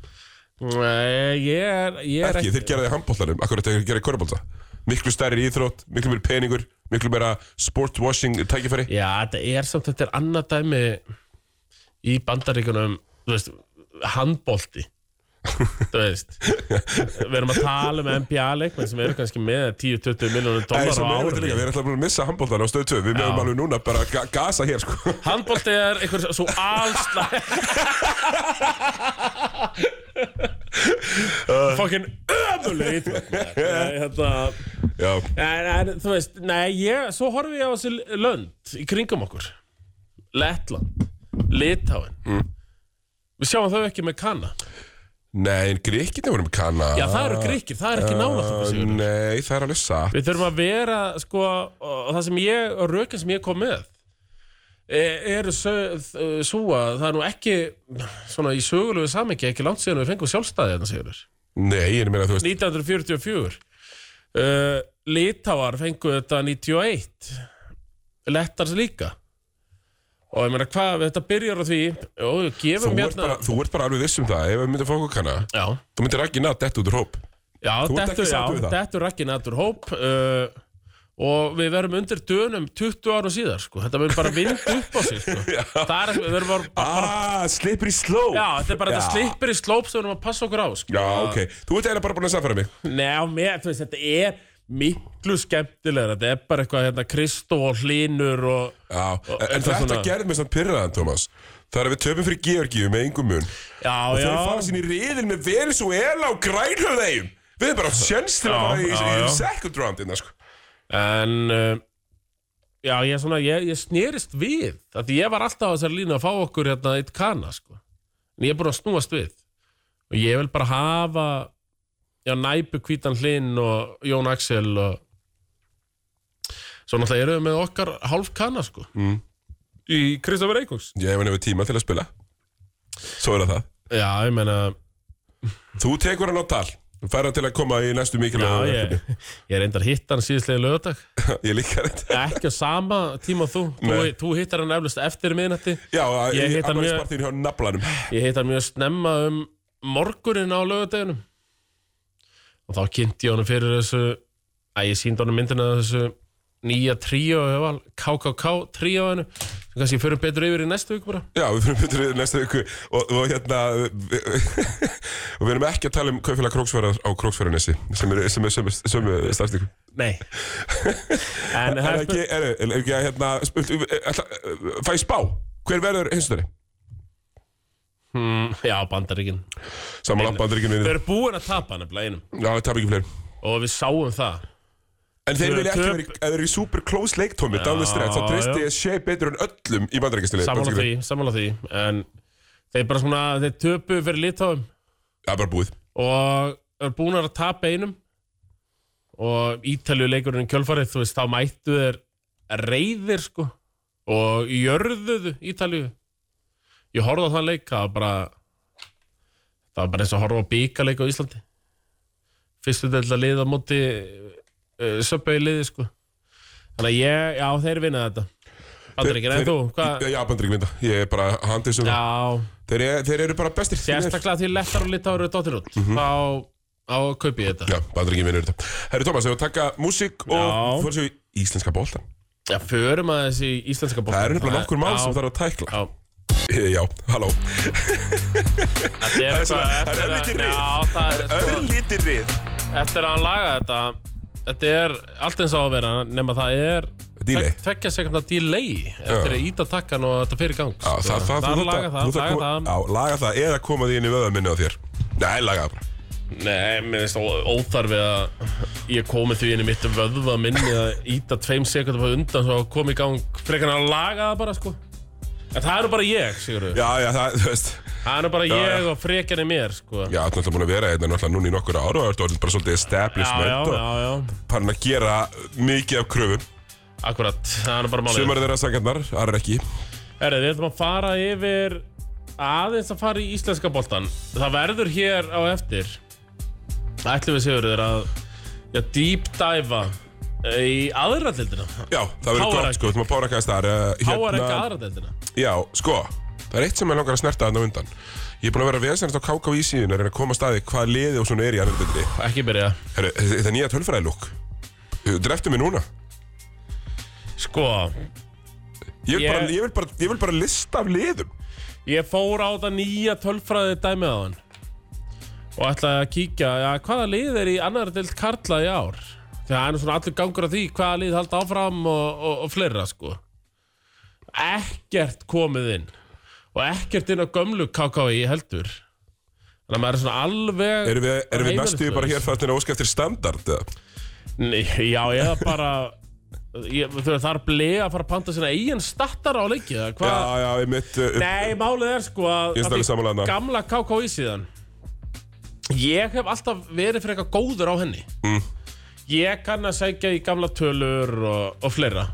Nei, ég er, ég er
Ekki, þeir gera það í handbóltanum Akkur þeir gera í korfbólta Miklu stærri íþrótt, miklu meira peningur miklu meira sportwashing tækifæri
Já, þetta er samt, þetta er annað dæmi í bandaríkunum, þú veist, handbolti þú veist við erum að tala um NBA-leikmenn sem eru kannski með 10-20 miljónum
Nei,
dólar
svo
á
meira þetta líka,
ári
við erum alltaf búin að missa handbóltan á stöð 2 Við meðum alveg núna bara ga gasa hér, sko
handbolti er einhver svo allslæg fokkin ömuleg íþrótt, maður. Nei, hérna- þetta
Já,
En, en þú veist, nei, ég, svo horfum ég á þessi lönd í kringum okkur. Lettland, Litáin. Við sjáum þau ekki með kanna.
nei, en gríkinni vorum kanna
Já, það eru gríkir, það er ekki
Ah.
nálægt okkur sigur.
Nei, það er alveg satt
Við þurfum að vera, sko, og það sem ég, og rökin sem ég kom með, e- eru svo að það er nú ekki, svona í sögulegu samengi, ekki langt síðan við fengum sjálfstæði þarna sigurður.
Nei, ég meina, þú veist
1944 uh, Litáar fengu þetta 91 Lettars líka og ég meina hvað þetta byrjar á því og við
Þú
gefum hérna-
ert, bara, þú ert bara alveg viss um það, ef við myndum að fá okkur kanna
já,
Þú myndir ekki nátt dett út úr hóp
já,
Þú ert
dettur,
ekki sáttur við
já
það?
dettur ekki nættur hóp uh, og við verum undir dönum 20 ára síðar sko. þetta verður bara vind upp á sig sko. það er, við verum bara, bara, bara
Ah, slippery slope
já, þetta er bara þetta slipper í slóp sem við verum að passa okkur á sko.
Já, ok, þú ert eiginlega bara búin að samfæra mig
Nei, á mér, þú veist, þetta er miklu skemmtilegra, þetta er bara eitthvað hérna Kristó og Hlynur og
Já, en, en
eitthvað
þetta
svona-
gerði mig samt pyrraðan, Thomas Það er að við töpum fyrir Georgíu með engum mun
Já,
Og
já,
þeir fara sín í riðil með Venezuela og grænhöfðegjum Við erum bara átt sjens til að
Já,
fara í,
já,
í,
já.
í second round innan, sko.
en uh, já, ég er svona, ég, ég snerist við af því ég var alltaf á þessari línu að fá okkur hérna eitt kana, sko en ég er búin að snúast við og ég vil bara hafa já, næpu hvítan Hlyn og Jón Axel og svo náttúrulega erum við með okkar hálf kana, sko mm. í Kristofur Eikóks
Ég hef hann yfir tíma til að spila Svo er það það
Já, ég meina
Þú tekur hann á tal Þú fær hann til að koma í næstu
Já,
mikilvæg
ég, ég reyndar hitt hann síðislega lögadag
ég líka þetta
Ekki á sama tíma og þú Þú,
Nei.
þú hittar hann eflust eftir miðnætti
Já,
Ég hitt hann
hann
mjög-
mjög hjá naflanum
Ég hittar mjög snemma um morgunin á lögadagunum Og þá kynnti ég honum fyrir þessu Æ, ég síndi honum myndina af þessu nýja tríó hjá Val, KKK tríóinu sem kannski fyrir betur yfir í næstu viku bara
Já, við fyrir betur yfir næsta viku og, og hérna við, og við erum ekki að tala um kaupfélag Króksfærar á Króksfæranessi sem er, sem er sömu, sömu starfstíku
Nei En það
Er
er
ekki, er, er ekki að hérna sp- ætla- uh, fæ spá, hver verður hinsdari?
spurning Hmm, Já, bandaríkin
Saman að bandaríkjum
Við
vinni
erum búin að tapa nefnilega einum
Já, það tap ekki fleiri
Og við sáum það
En þeir
Tvö
vilja ekki
töp.
verið, ef þeir eru í super close leiktómi Down the stretch, þá treysti ég sé betur en öllum í bandaríkjastunni
Samála því, samála því En þeir bara svona, þeir töpu fyrir litáum
Já, bara búið
Og er búin að tapa einum Og ítalju leikurinn í kjölfarið Þú veist, þá mættu þeir reyðir sko Og jörðuðu ítalju Ég horfði á þann leik Það var bara Það var bara eins og að horfa á bíkaleik á Íslandi Fyrstu delda liða móti uh, Söpbegi liði sko Þannig að ég, já, þeir vinna þetta Bandaríkir, en
Þeir-
þú, hvað?
Já, bandaríkjum vinna, ég er bara handið sem það
Já,
Þeir, eru- þeir eru bara bestir Því miður.
sérstaklega því lettar og litar eru dottir út þá, þá kaupi ég þetta
Mhm. Já, bandaríkjum vinnur þetta. Herri Tómas, hefur taka músík og
Já.
fyrir sig í íslenska bóltan.
Já, förum að þessi íslenska bók
Það eru nefnilega nokkur mál sem þarf að tækla.
Já,
Já, halló.
þetta er
svona-
eitthvað
það er
eftir að-
örlítið rif.
Já, það er sko
Örlítið rið.
Eftir að hann laga þetta Þetta er allt eins á að vera nema það er
Delay.
tvek- Tveggja sekundar delay Eftir að íta takkan og þetta fyrir gang
Já, það, það,
það er
þú
að
þarft
laga það,
þú
laga
þarft að koma-
það
Já, laga það eða koma því inn í vöðan minni á þér. Nei, laga það bara.
Nei, mér finnst ó- óþarfi að ég komi því inn í mitt vöðva minni að íta tveim sekundum á undan svo kom í gang frekar en að laga það bara sko En það eru bara ég, Sigurður
Já, já, það, þú veist,
Það er nú bara ég og frekjan í mér, sko.
Já, þú ert búin að vera hérna náttúrulega núna í nokkur ára og þú ert bara svolítið
já,
establishment
já, já.
og farin að gera mikið af kröfum.
Akkurat, það er nú bara málið.
Sumar þeirra sangarnar, aðrar ekki.
Herri, við ætlum að fara yfir aðeins að fara í íslenska boltan. Það verður hér á eftir. Það ætlum við sigur þér að já, deep dive í aðra deildina.
Já, það verður
Háar
gott
ekki.
sko, þú maður párakast þar. eh,
Háar ekki aðra deildina.
Já, sko, það er eitt sem ég langar að snerta þarna á undan. Ég er búin að vera vesennast á KK í síðan að reyna að koma að staði hvað liði og svona er í annan byrni.
Ekki byrja.
Herru, þetta er nýja tölfræðilúk. Dreftu mig núna.
Sko,
Ég vil,
Ég-
bara, ég, vil bara, ég vil bara lista af liðum.
ég fór á það nýja tölfræði dæmið á hann og ætlaði að kíkja já, hvaða lið er í annar deild karla í ár því að það er nú svona allir gangur á því hvaða lið halda áfram og, og, og fleira sko ekkert komið inn og ekkert inn á gömlu KKI heldur þannig að maður er svona alveg
Erum við, erum við næstu
heimilislaus.
bara hér fættin að óska eftir standard? eða?
Nei, já, eða bara ég, þau þarf bleið að fara að panta sína eigin stattar á leiki eða
Já,
hvað
já, uh, ég mitt...
Nei, málið er sko að
Ég er alveg sammála þarna.
gamla KKI síðan Ég hef alltaf verið fyrir eitthvað góður á henni
Mm.
Ég kann að segja í gamla tölur og, og fleira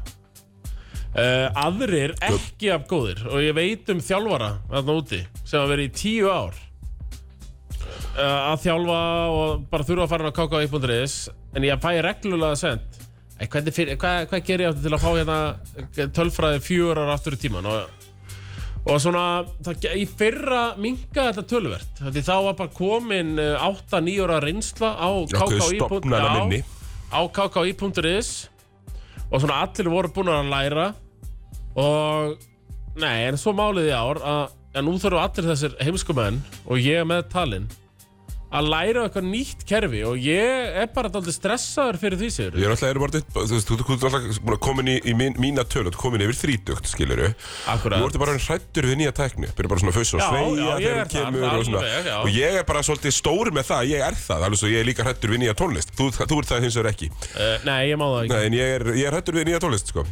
uh, Aðrir ekki af góðir Og ég veit um þjálfara þarna úti Sem hafa verið í tíu ár uh, Að þjálfa og bara þurfa að fara inn á KKI.is En ég fæ reglulega send Æ, hvernig fyrir, hvað, hvað ger ég aftur til að fá hérna tölfræði fjör ára aftur í tíman og Og svona, það, í fyrra minga þetta töluvert Því þá var bara komin 8-9 ára reynsla á KKI.
Ákveðið stofnanaminni.
Já, Á kki.is Og svona allir voru búin að læra Og, nei, en svo málið í ár að, að nú þurfum allir þessir heimskumenn Og ég með talinn Að læra eitthvað nýtt kerfi Og ég er bara dálítið stressaður fyrir því sér
Ég er alltaf, erum bara, þú veist, þú þú ert alltaf búin að komin í, í mín, mína tölu, þú ert komin yfir þrítugt, skilur við.
Akkurat.
Nú ertu bara hrættur við nýja tækni, byrja bara svona fauðs og
Já,
sveigja
já, ég
þegar
er
hún
það,
kemur
það
og svona.
alveg, já.
og ég er bara svolítið stór með það, ég er það, alveg svo ég er líka hrættur við nýja tónlist. Þú, þú ert það hins vegar ekki.
uh, Nei, ég má það ekki
Nei, en ég er, ég er hrættur við nýja tónlist, sko.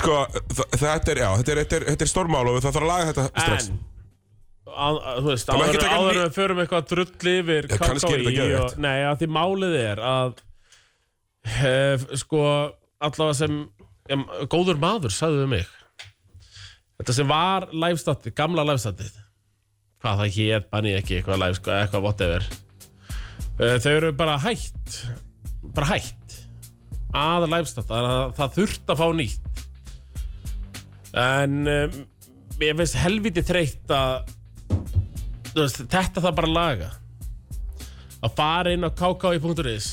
Sko, þa- þetta er, já, þetta er, þetta er, þetta er stórmál og það þarf að laga þetta strax.
En að, að, þú veist,
Það má ekki
áður,
taka
áður
ný-
en við förum eitthvað drull yfir
Já, kannski er
KKÍ
þetta
og-
geðveikt.
Nei, að því málið er að hef, sko allavega sem em, góður maður sagði við mig þetta sem var livestatið, gamla livestatið hvað það hét, banni ekki eitthvað live, sko, eitthvað whatever Eh, þau eru bara hætt bara hætt að livestata, þannig að það þurft að fá nýtt en um, ég finnst helviti þreytt að þú veist, þetta það bara að laga að fara inn á kki.is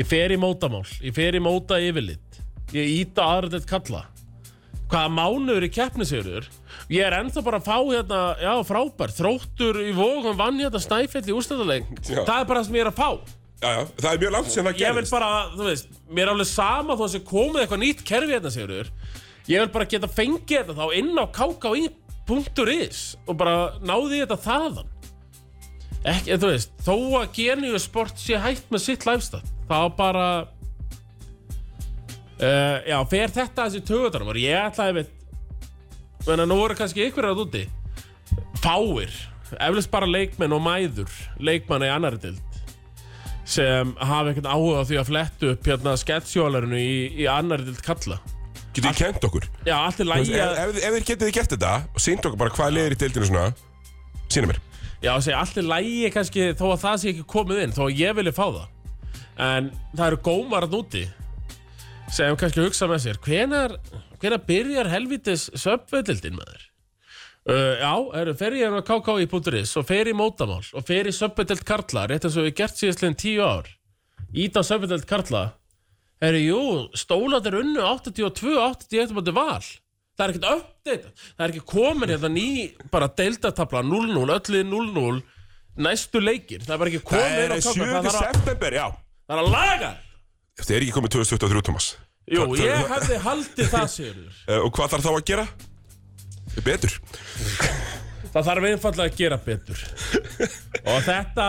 ég fer í mótamál ég fer í móta yfirlit ég íta aðra til kalla hvaða mánuður í keppnisjörur ég er ennþá bara að fá hérna já frábær, þróttur í vógum vann hérna snæfell í úrstæðarleik
Já.
það er bara það sem ég er að fá
Já, já, það er mjög langt sem það
ég vil
gerist.
bara, þú veist, mér er alveg sama þó að sé komið eitthvað nýtt kerfi hérna, Sigurður ég vil bara geta fengið þetta þá inn á kki.is og bara náði ég þetta þaðan ekki, þú veist, þó að Genius Sport sé hægt með sitt læfstætt þá bara uh, já, fer þetta þessi tögutunum og ég ætlaði veit menna nú voru kannski ykkur að úti fáir, eflust bara leikmenn og mæður, leikmanna í annari dild sem hafa ekkert áhuga á því að flettu upp hérna sketsjólarinu í, í annari dild kalla
Getið þið kent okkur?
já, allt er
Þú veist,
lægi
Ef,
að
ef, ef þið getið þið gert þetta og sýnt okkur bara hvað leiðir í deildinu svona, sína mér.
já, segi, allt er lægi kannski þó að það sé ekki komið inn þó að ég vilja fá það en það eru gómar að núti sem kannski hugsa með sér hvenar, hvenar byrjar helvitis söpveldildin maður Uh, já, eru, fer ég hérna á kki.is og fer í mótamál og fer í söpvetild karla, rétt eins og við gert síðastliðin tíu ár ít á söpvetild karla Herri, jú, stólatir unnu 82, 81 mútið val. Það er ekkert update. Það er ekki komin hérna ný bara deildatabla 0-0, öllið 0-0, næstu leikir. Það er bara ekki komin
Það er
á KK.
7.
Það þarf að-
september, já.
það er að laga.
Þetta er ekki komið 2023, Thomas.
Jú,
Hvað-
ég
hvað-
hefði haldið það, Sigurður.
Eh, Og hvað þarf þá að gera? Betur.
Það þarf einfallega að gera betur. Og þetta...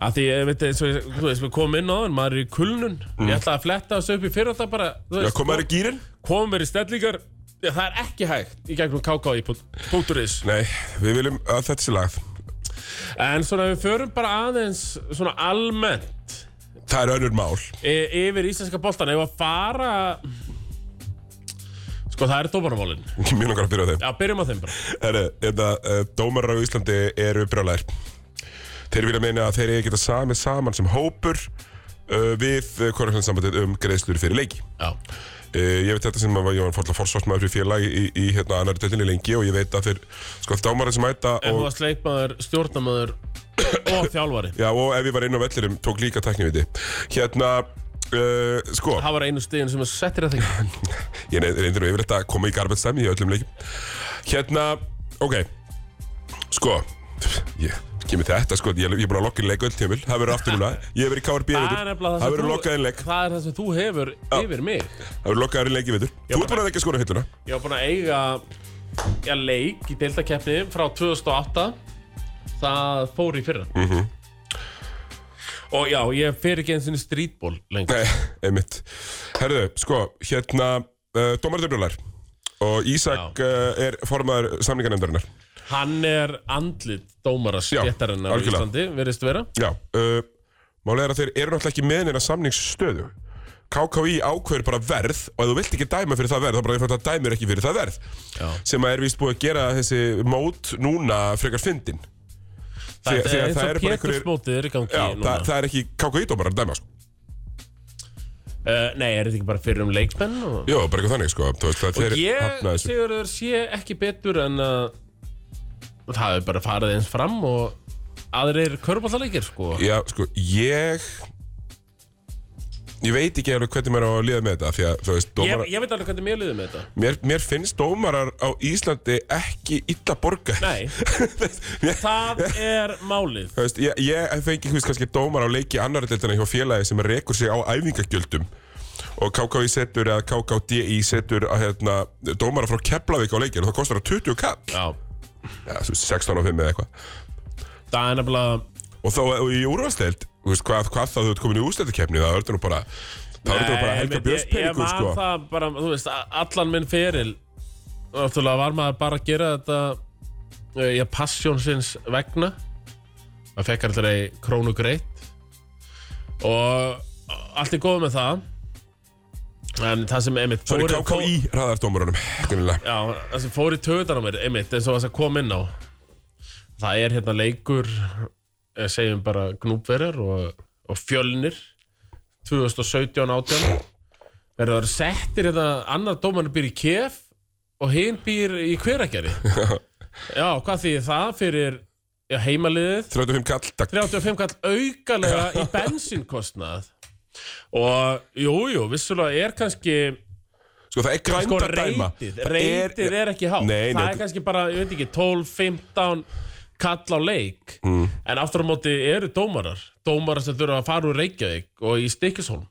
Að því, ég veit, eins og ég- þú veist, við komum inn á þann, maður Mm. er í kulnun. Ég ætlaði að fletta þessu upp í fyrir þetta bara. þú
Já,
veist,
komaður í gýrin?
komum við í stellingar Já, það er ekki hægt í gegnum kákáði.is
Nei, við viljum að þetta sé lagð
En svona við förum bara aðeins svona almennt
Það er önnur mál
e yfir íslenska boltan ef að fara Sko það er dómarmálin
Mjög langar að byrja á þeim
Já, byrjum á þeim bara
Herru, hérna, uh, dómarar á Íslandi eru brjálæðir Þeir vilja meina að þeir eigi að geta samið saman sem hópur uh, við uh, korreklandsambandið um greiðslur fyrir leiki
Já,
Uh, ég veit þetta sem að var- ég var fórla forsvarsmaður fyrir félag í, í hérna annari dölinni lengi og ég veit að þeir sko dámarar sem mæta
en þú
og,
var sleikmaður, stjórnamaður og þjálfari
já, og ef ég var inn á vellirum tók líka tækniviti hérna uh, sko
Það var einu stíðin sem er settir að þig
Ég reyndi nú yfir þetta að koma í garbetstæmi í öllum leikum. Hérna, ok, sko, ég kemur þetta, sko, ég ég er búin að lokka inn leik öll tímul, það verður aftur núna, ég hef verið í KRB í
Það
vetur,
er nefnilega
það
það
verður lokkað inn
sem
leik,
þú Það er það sem þú hefur yfir mig
það verður lokkað inn leik í vetur. Þú ert búin að ekki skora hilluna,
Ég var búin að eiga já, leik í deildakeppni frá 2008 það fór í fyrra
Mhm.
og já, ég fer ekki eins og strítból lengur
nei, einmitt. Herðu, sko, hérna, uh, Dómarðurbrjólar og Ísak uh, er formaður samningarnefndarinnar.
hann er andlit dómara
Já,
stjættarinnar á
algjörlega.
Íslandi, verðist vera
Já, uh, málega er að þeir eru náttúrulega ekki með neina samningsstöðu KKÍ ákveður bara verð og ef þú vilt ekki dæma fyrir það verð þá bara er þetta dæmir ekki fyrir það verð
Já.
sem að er víst búið að gera þessi mót núna frekar fyndin
það,
Þegar- þegar
er eins og
það er bara einhverjir-
Pétursmótið er í gangi
Já,
núna
það, það er ekki KKÍ-dómarar að dæma sko.
Uh, nei, er þetta ekki bara fyrir um leiksmenn og...
Jó, bara eitthvað þannig sko. þú veist, það, þeir
ég,
hafna þessu.
Sigurður, sé ekki betur en að það er bara farið eins fram og aðrir körbáttaleikir sko.
Já, sko, ég ég veit ekki alveg hvernig maður á að liða með þetta því að, þú veist,
ég,
dómarar
ég veit alveg hvernig mér liðið með þetta
mér, mér finnst dómarar á Íslandi ekki illa borga
Nei, það er málið
Þú veist, ég, ég fengi hvist kannski dómar á leiki annar deltana hjá félagi sem rekur sig á æfingagjöldum og KKI setur eða KKDI setur að hérna, dómara frá Keflavík á leikin og það kostar það 20 kall
Já,
ja, þú veist, 16 og 5 eða eitthvað
það er nefnilega
og þá og í úrvalstelt, þú veist, hvað, hvað þá þú ert komin í úrsteltakefni, það verður nú bara það verður nú bara
Nei,
helga
ég- Ég
björnspeningur
man
sko
það bara, þú veist, a- allan minn feril Náttúrulega var maður bara að gera þetta eh, Ég passjónsins vegna Maður fekk aldrei krónu greitt Og allt er góð með það En það sem einmitt
það
fór-
er KKI raðar dómarunum greinilega.
Já, það sem fór í töðan á mér, einmitt, eins og það sem kom inn á Það er hérna leikur, eh, segjum bara gnúbverjar og, og fjölnir 2017-18 Verður það settir hérna, annar dómarinn býr í Kef og hinn býr í Hveragerði Já, hvað því það fyrir já, heimaliðið
35 kall, takk
35 kall aukalega í bensinkostnað Og jú, jú, vissulega er kannski
sko það er
sko
grænt að dæma
reytið, reytið er ekki hátt
Nei,
það
nei.
er kannski bara, ég veit ekki, 12, 15 kall á leik
Mm.
en aftur á móti eru dómarar dómarar sem þurfa að fara úr Reykjavík og í Stikisholm,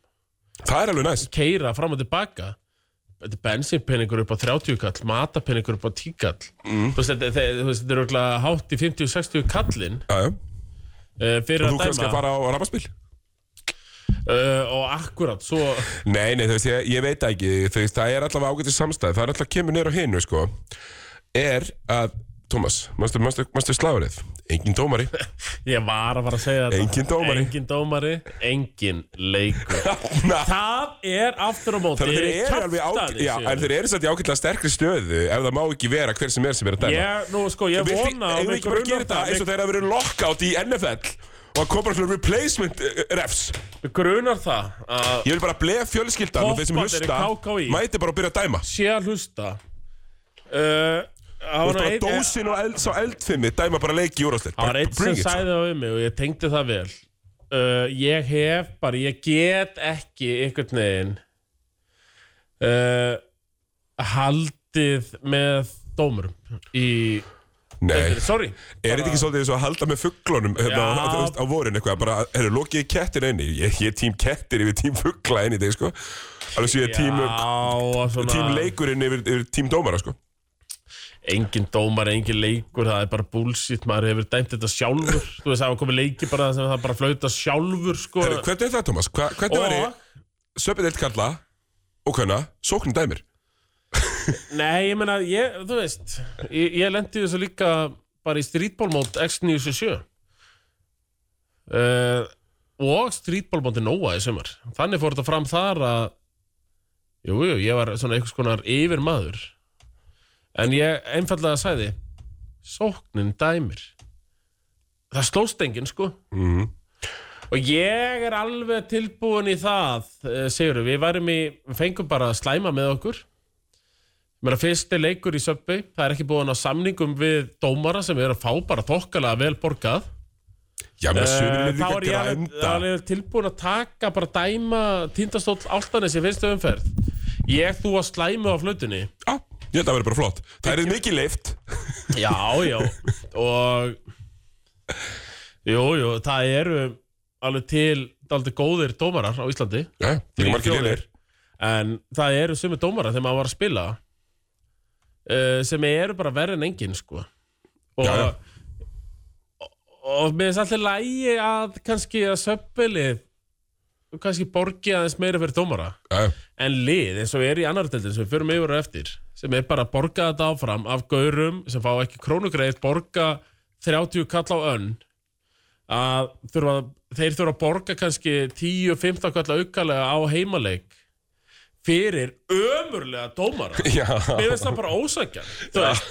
það er alveg næst
keira fram og tilbaka þetta er bensinpenningur upp á 30 kall matapenningur upp á 10 kall mm. þú veist, þetta- þetta þú veist, þetta er örugglega hátt í 50-60 kallin
og
uh, fyrir
þú
að
kannski
dæma
að fara á rafaspil
uh, og akkurat, svo
Nei, nei, þú veist, ég, ég veit það ekki þú veist, það er allavega ágætið samstæð það er allavega kemur neyra á hinu, sko er að, Tómas, manstu, manstu, manstu slagurðið engin dómari
ég var að fara að segja þetta
Enginn dómari.
engin dómari, engin leikur
Na,
Það er aftur á móti
þannig að þeir eru alveg ágætið já, en þeir eru satt í ágætlega sterkri stöðu ef það má ekki vera hver sem er sem er að dæma
Ég, nú sko, ég
Viltu-
vona
eigum við ekki bara að gera þetta eins og
mig,
þeir hafa verið lockout í NFL og að koma bara svona replacement eh, refs
mig grunar það að
ég vil bara blef fjölskyldan og þeir sem
Topparnir í
hlusta
KKÍ.
mæti bara að byrja að dæma
sé að hlusta uh, Það
og bara dósin og eld, sá eldfimmi dæma bara leiki í úrásleik
Það var einn sem sæði það við mig og ég tengdi það vel uh, Ég hef bara, ég get ekki einhvern veginn uh, haldið með dómurum í,
Nei,
sorry
Er þetta ekki svolítið eins og að halda með fugglunum hérna,
Já.
á, þú veist, á vorin eitthvað, bara, herru, lokið kettin einni, ég, ég er tím kettir yfir tím fuggla einni í dag, sko. Alveg svo ég er tím,
Já, svona
tím leikurinn yfir, yfir tím dómara, sko.
engin dómar, engin leikur það er bara bullshit, maður hefur dæmt þetta sjálfur þú veist, það var komið leiki bara sem það bara flauta sjálfur, sko
Herru, hvernig er það, Tómas? Hva, hvernig
og
væri söpindelt karla og hvenna, sóknin dæmir?
Nei, ég meina, ég, þú veist Ég, ég lendi þessu líka bara í streetballmót X977 uh, og streetballmóti Nóa í sumar Þannig fór þetta fram þar að Jú, jú, ég var svona einhvers konar yfir maður En ég einfallega sagði Sóknin dæmir Það slóst enginn, sko
Mhm.
Og ég er alveg tilbúin í það, segjur við, værum í, við fengum bara að slæma með okkur. Ég meina, fyrsti leikur í Söpbi, það er ekki búin á samningum við dómara sem er að fá bara þokkalega vel borgað.
Já, með sömur
Eh,
er
Þá
líka
er ég alveg-
grænda
alveg tilbúin að taka bara dæma tindastóll áltanis í fyrstu umferð. Ég þú að slæmu á flutunni.
Já, ég held að það verður bara flott Það er mikið leift
Já, já Og Jú, jú, það eru alveg til daldi góðir dómarar á Íslandi
Já, líka
Þrír,
margir
fjórir.
leiðir
En það eru sumi dómarar þegar maður var að spila uh, sem eru bara verri en engin sko. og,
Já, já.
og, og mér finnst alltaf lægi að kannski að söppelið kannski borgi aðeins meira fyrir dómara
Já,
en lið eins og er í annar deildin sem við förum yfir og eftir sem er bara að borga þetta áfram af gaurum sem fá ekki krónugreið borga 30 kall á önn að þurfa, þeir þurfa að borga kannski 10-15 kall aukalega á heimaleik fyrir ömurlega dómara
já,
Mér finnst það bara ósækjan Þú veist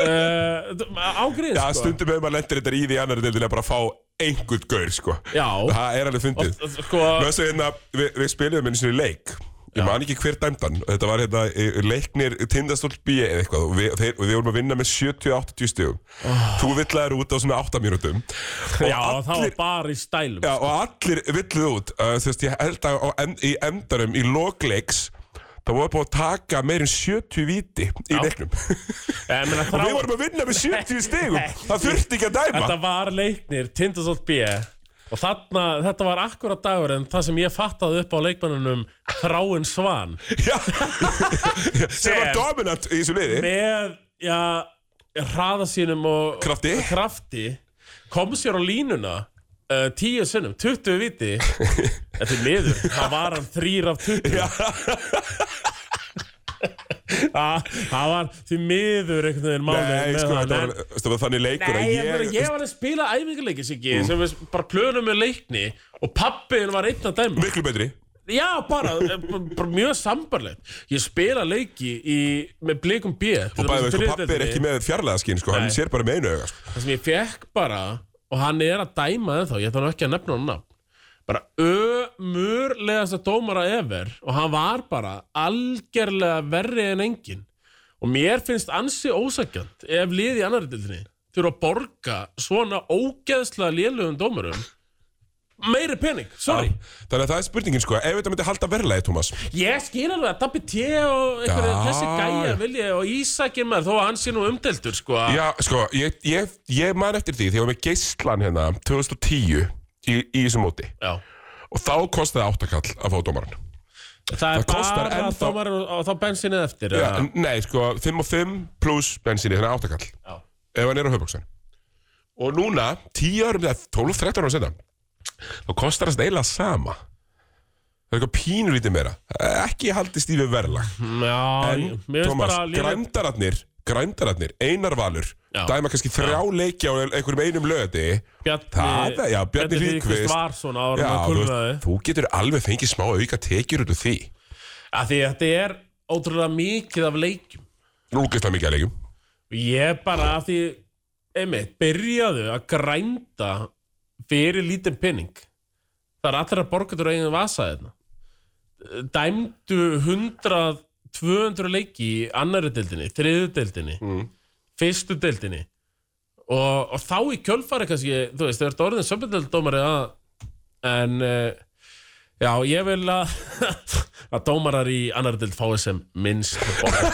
uh, Ágríð
já
sko
stundum hefur maður lendir þetta í því annar deildin að bara fá einhvern gaur, sko
Já
Það er alveg
og,
fyndið
sko,
Með þessu hérna, við, við spilum einu sinni leik Ég man ekki hver dæmdan Þetta var hérna eh, leiknir Tindastóll B E eða eitthvað og við, þeir, og við vorum að vinna með 70-80 stugum
Ah.
Þú villaðir út á svona 8 mínútum Og
Já, það var
allir,
bara í stælum
já, og allir villuð út uh, Þú veist, ég held að á, en, í endarum í lokleiks Það voru búið að taka meir en 70 viti í leiknum
Eh, Ég meina,
Og við
þrá-
vorum að vinna með 70 stigum Það þurfti ekki að dæma
Þetta var leiknir, Tindasótt B Og þarna, þetta var akkurat dagur En það sem ég fattaði upp á leikmannunum Þráin Svan
Já. Sem var dominant í þessu liði
Með, já, hraða sínum og
Krafti.
og krafti Kom sér á línuna uh, Tíu sinnum, 20 viti Þetta er miður, það var hann þrýr af 20
Já.
Það Ah, það var því miður einhvern veginn málið
Nei,
með
sko,
það,
þetta
en-
var, þetta var þannig leikur
Nei,
að
ég, ég, ég var að spila æfingarleikis ekki sem við bara plönum með leikni og pappiðin var einn að dæma
Miklu betri
Já, bara, eh, b- bara mjög sambarlegt Ég spila leiki í, með blikum B
Og bæði veist, pappi er ekki með fjarlæða skinn, sko, hann
Nei.
sér bara með einu auga, sko
Það sem ég fekk bara og hann er að dæma það þá, ég ætla nú ekki að nefna hann nafn bara ömurlegasta dómara ever og hann var bara algerlega verri en engin og mér finnst ansi ósakjönd ef liði í annari dildinni þurfa að borga svona ógeðslega lélugum dómurum meiri pening, sorry
Þannig að það er spurningin, sko, ef þetta myndi halda verðlæði, Tómas
ég skil alveg að Dabbi T og einhverja
Já.
þessi gæja vilja og Ísakir maður þó að hann sé nú umdeldur sko að-
Já, sko, ég, ég, ég man eftir því, því ég var með geislan hérna 2010 í, í þessum móti
Já.
Og þá kostiði áttakall að fá dómaran
Það er
Það kostar
bara
ennþá-
dómarinn og- og þá bensinnið eftir
Já,
eða?
en- Nei, sko, 5 og 5 pluss bensinni, þannig að áttakall
Já.
Ef hann er á höfbóksan Og núna, 10 árum, eða 12-13 árum setna Þá kostar það eiginlega sama Það er eitthvað pínulítið meira Ekki haldist í við verðlag
Mm, Já,
En,
ég- Mhm. mér finnst
Thomas,
bara lífið
grændararnir Grændararnir, Einar Valur
Já.
Dæma kannski þrjá leiki á einhverjum einum löði
Bjarni,
Það, já, Bjarni Hlíðqvist.
var svona ára
Já,
með
þú,
kulnaði
veist, þú getur alveg fengið smá auka tekjur út úr því
að Því að þetta er ótrúlega mikið af leikjum
Lúkislega mikið að leikum
Og Ég bara að því einmitt, byrjaðu að grænda fyrir lítinn penning Það er allir að borga þurra eigin vasa þetta Dæmdu 100 200 leiki í annari deildinni, þriðu deildinni
Mm.
fyrstu deildinni og, og þá í kjölfari kannski þú veist, þau ertu orðin sömbendeldómari að en uh, já, ég vil að að dómarar í annar deild fái sem minnst borga.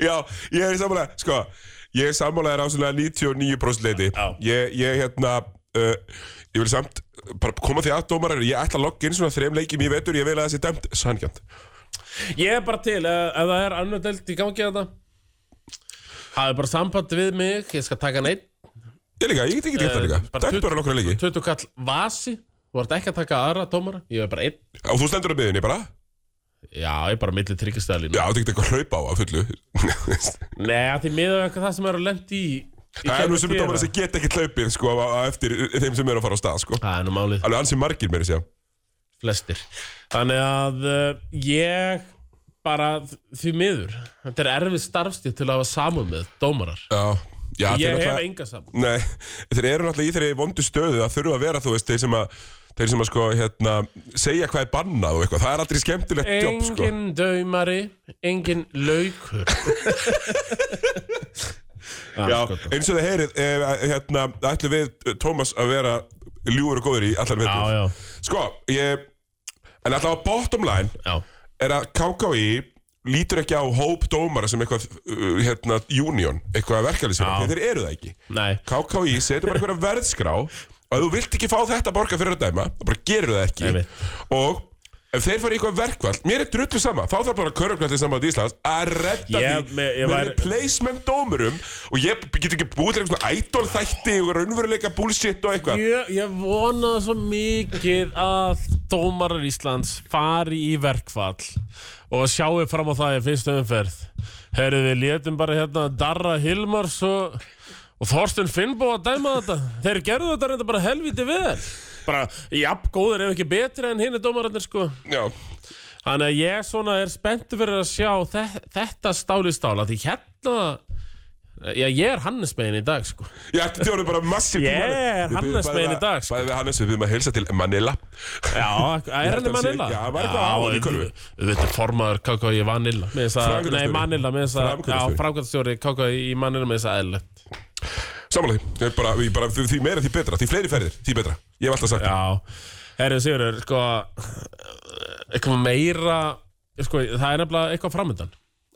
Já, ég er í sammála, sko Ég er sammála þér á svona 99% leiti
Já.
Ég, ég hérna uh, Ég vil samt bara koma því að dómarar Ég ætla að logga inn svona þreim leikjum í vetur Ég vil að það sé dæmt sanngjönd
ég er bara til, ef, ef það er annar deild í gangi þetta hafið bara samband við mig ég skal taka hann einn,
Ég líka, ég get ekki gett það
Eh,
líka
bara
Dæmt
tut-
bara nokkra leiki
20 kall vasi þú ert ekki að taka aðra dómara, ég er bara einn
Og þú stendur á miðunni bara
Já, ég er bara milli tryggastæðalínu
Já, þetta er eitthvað að hlaupa á að fullu
Nei, að því miður eitthvað það sem er að lendi í, í
Það er
kerfi
nú sem
þér,
dómar sem geta ekki hlaupið sko, á, á eftir þeim sem eru að fara á stað sko.
að- Það er nú málið,
Alveg ansi margir meira að segja
flestir Þannig að uh, ég bara því miður Þetta er erfið starfstíð til að hafa samum með dómarar
Já, já
Ég
þeir
hef
náttúrulega-
enga samum
Nei, þeir eru náttúrulega í þeirri vondu stöðu að þurfa að vera, þú veist, þeir sem að þeir sem að sko, hérna, segja hvað er bannað og eitthvað, það er aldrei skemmtilegt jobb, sko
Engin dömari, engin laukur
Já, sko.
Já, já,
eins og þið heyrið, eh, hérna, ætlum við Tómas að vera ljúfur og góður í allan viðbúð.
já,
Sko, ég, en alltaf bottom line
já.
er að KKI lítur ekki á hóp dómara sem eitthvað, uh, hérna, union, eitthvað verkefnisjóð,
Já.
þeir eru það ekki.
Nei,
KKI setur bara einhverja verðskrá og ef þú vilt ekki fá þetta borga fyrir að dæma þá bara gerur það ekki
Einmitt.
og ef þeir fara í eitthvað verkvall mér er drullu sama, þá þarf bara köruglættið saman í Íslands að redda
Ég-
því
me- ég
með
væri-
replacement dómurum og ég get ekki búið til eitthvað idol þætti og raunveruleika bullshit og eitthvað
ég, ég vonaði svo mikið að dómarar Íslands fari í verkfall og sjáu fram á það í fyrstu umferð Herðu, við létum bara hérna Darra Hilmars og, og Þorsten Finnbó að dæma þetta Þeir gerðu þetta reynda bara helviti vel bara, jafn, góður ef ekki betri en hinn er dómararnir sko
Já,
Þannig að ég svona er spenntu fyrir að sjá þe- þetta stáli stála því hérna Já, ég er Hannesmegin í dag, sko.
ég ætti þjóðum bara massíf
Ég er Hannesmegin í dag, sko.
Bæði við Hannes, við erum að heilsa til Manila
Já, er
held
henni
að sé-
Manila?
já, það var eitthvað á honum í körfu.
Þetta er formaður KKI Vanilla. með þessa-
Framkvæmdastjóri.
Nei, Manilla, með þess að, já,
Framkvæmdastjóri.
framkvæmstjóri KKI í Manilla með þess að eðlögt.
Samanlega, því. Ég bara, ég bara, því því meira því betra, því fleiri ferðir, því betra Ég hef alltaf sagt það.
Já, herrið Sigurður, sko, eitthvað meira, sko, það er nefnilega eitthvað framöndan.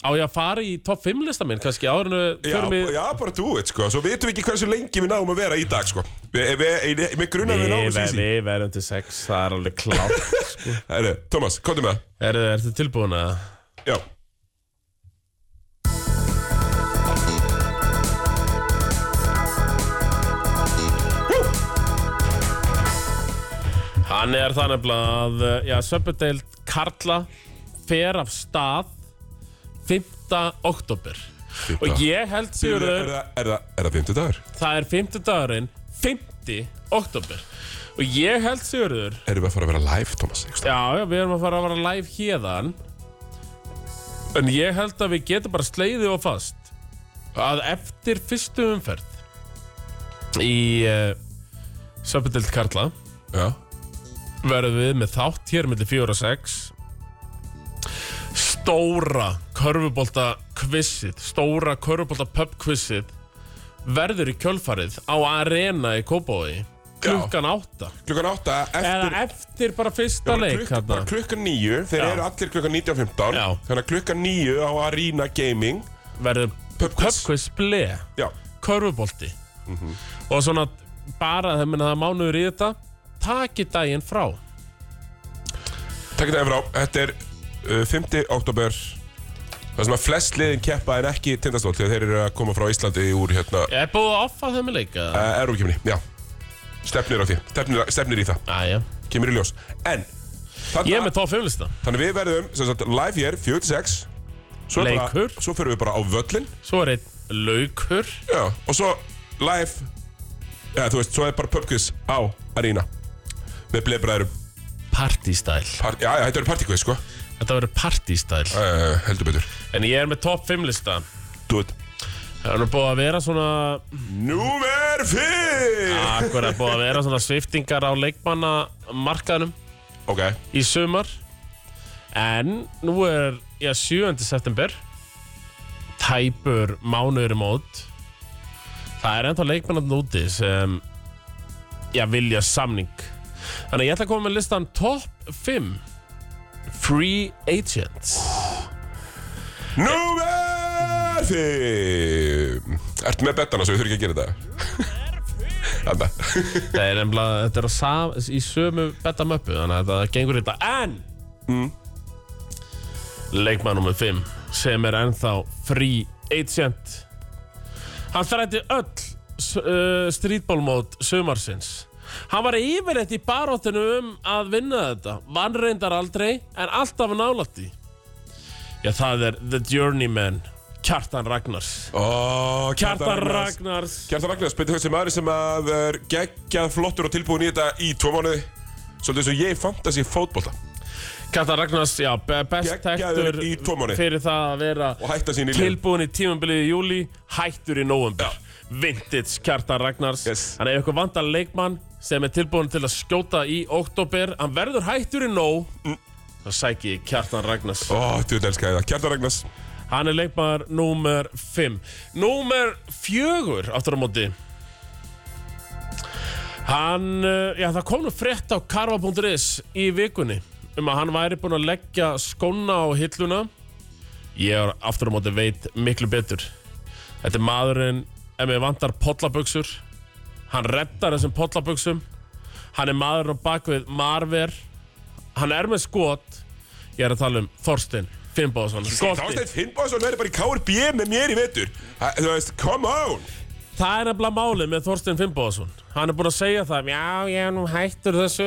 Á ég að fara í topp 5 lista minn, kannski, áður en við
Já,
förum í...
já, bara do it, sko. Svo vitum við ekki hversu lengi við náum að vera í dag, sko. Við, við, við, við grunnar við náum
Við,
þessi í.
við verðum til 6, það er alveg klátt, sko.
Herru, Thomas, komdu með það.
Er, er þið tilbúin að
Já.
Hann er það nefnilega að uh, já, Söpudeild Karla fer af stað 5. oktober og ég held
Er, það- er,
Sigurður
það- er, það- er það 50 dagur?
það er 5. dagurinn 5. oktober og ég held Sigurður
Erum við að fara að vera live, Thomas? einhvers staðar?
já, já, við erum að fara að vara live hérðan en ég held að við getum bara sleiðið og fast að eftir fyrstu umferð í uh, Söpudeild Karla
Já.
verðum við með þátt hér millir 4 og 6 stóra körfubólta kvissið stóra körfubólta pub kvissið verður í kjölfarið á arena í Kópói klukkan 8
Klukkan 8
eða
eftir...
eftir bara fyrsta leik
klukkan, bara
klukkan,
klukkan 9, þeir
Já.
eru allir klukkan 19.15
Já.
Þannig að klukkan 9 á Arena Gaming
verður
Pub quiz. Mhm.
pubquiz ble
Já,
körfubólti og svona bara það minna það er mánuður í þetta taki daginn frá
takk þetta efra á Þetta er uh, 5. oktober Það sem að flest liðin keppa en ekki tindastól Þegar þeir eru að koma frá Íslandi úr hérna
ég er búið að offa þeim í leika
Uh, Eurókjöfni, já Stefnir á því, stefnir, stefnir í það
Æja.
Kemur í ljós En
ég
Þannig,
er með tóf fimmlista
þannig við verðum sem sagt, live hér 46 Svo er
Leikur.
bara, Svo fyrir við bara á völlin
svo er einn laukur
Já Og svo live Já, þú veist, svo er bara pubquiz á Arena Með blebræðurum
partystæl
Já, já, þetta er partíkvið, sko
Þetta verður partystæl
uh, Heldur betur
En ég er með topp 5 lista
Do it
Það er nú búið að vera svona
Númer 5
Akkurat búið að vera svona sviftingar á leikmannamarkaðnum
Ok,
í sumar En nú er já, 7. september Tæpur mánuður í mót Það er ennþá leikmannan úti sem Já, vilja samning Þannig að ég ætla að koma með listan topp 5 Free Agents
númer 5 Ertu með bettana svo ég þurfi ekki að gera þetta Þetta
Það er nefnilega, þetta er á sam, í sömu betamöppu, þannig að þetta gengur þetta En mm. Leikmann nr. 5 sem er ennþá free agent Hann þrætti öll s- uh, streetballmót sumarsins Hann var yfirleitt í baróttinu um að vinna þetta. Vann reyndar aldrei, en alltaf nálætt í. Já, það er The Journeyman, Kjartan Ragnars.
Ó,
Kjartan Ragnars.
Kjartan Ragnars, betur þessi maður sem að er geggjað flottur og tilbúin í þetta í tvo mánuði Svolítið eins og ég fantast í fótbolta
Kjartan Ragnars, já, be- best
Geggjaður
tektur
í tvo mánuði.
fyrir það að vera
Og hætta sín í liðum.
tilbúin í tímambilið í júli, hættur í nóvember.
Já.
Vintage Kjartan Ragnars.
Yes.
Hann er ykkur vandan leikmann sem er tilbúin til að skjóta í oktober. Hann verður hættur í nóg.
Mm.
Það sæki ég Kjartan Ragnars.
Ó, djúðin elskar ég það Kjartan Ragnars
Hann er leikmaður númer 5 Númer 4 Aftur á móti Hann, eh, já það kom nú frétt á karva.is í vikunni um að hann væri búinn að leggja skóna á hilluna Ég er aftur á móti veit miklu betur Þetta er maðurinn ef mér vantar pollaböksur Hann reddar þessum pollaböksum Hann er maðurinn á bakvið Marver Hann er með skot Ég er að tala um Þorstein Finnbóðsson
Þorsteinn Finnbóðsson verður bara í KRB með mér í vetur Ha- Þú veist, come on
Það er nefnilega málið með Þorstein Finnbóðsson. Hann er búinn að segja það, já, ég er nú hættur þessu.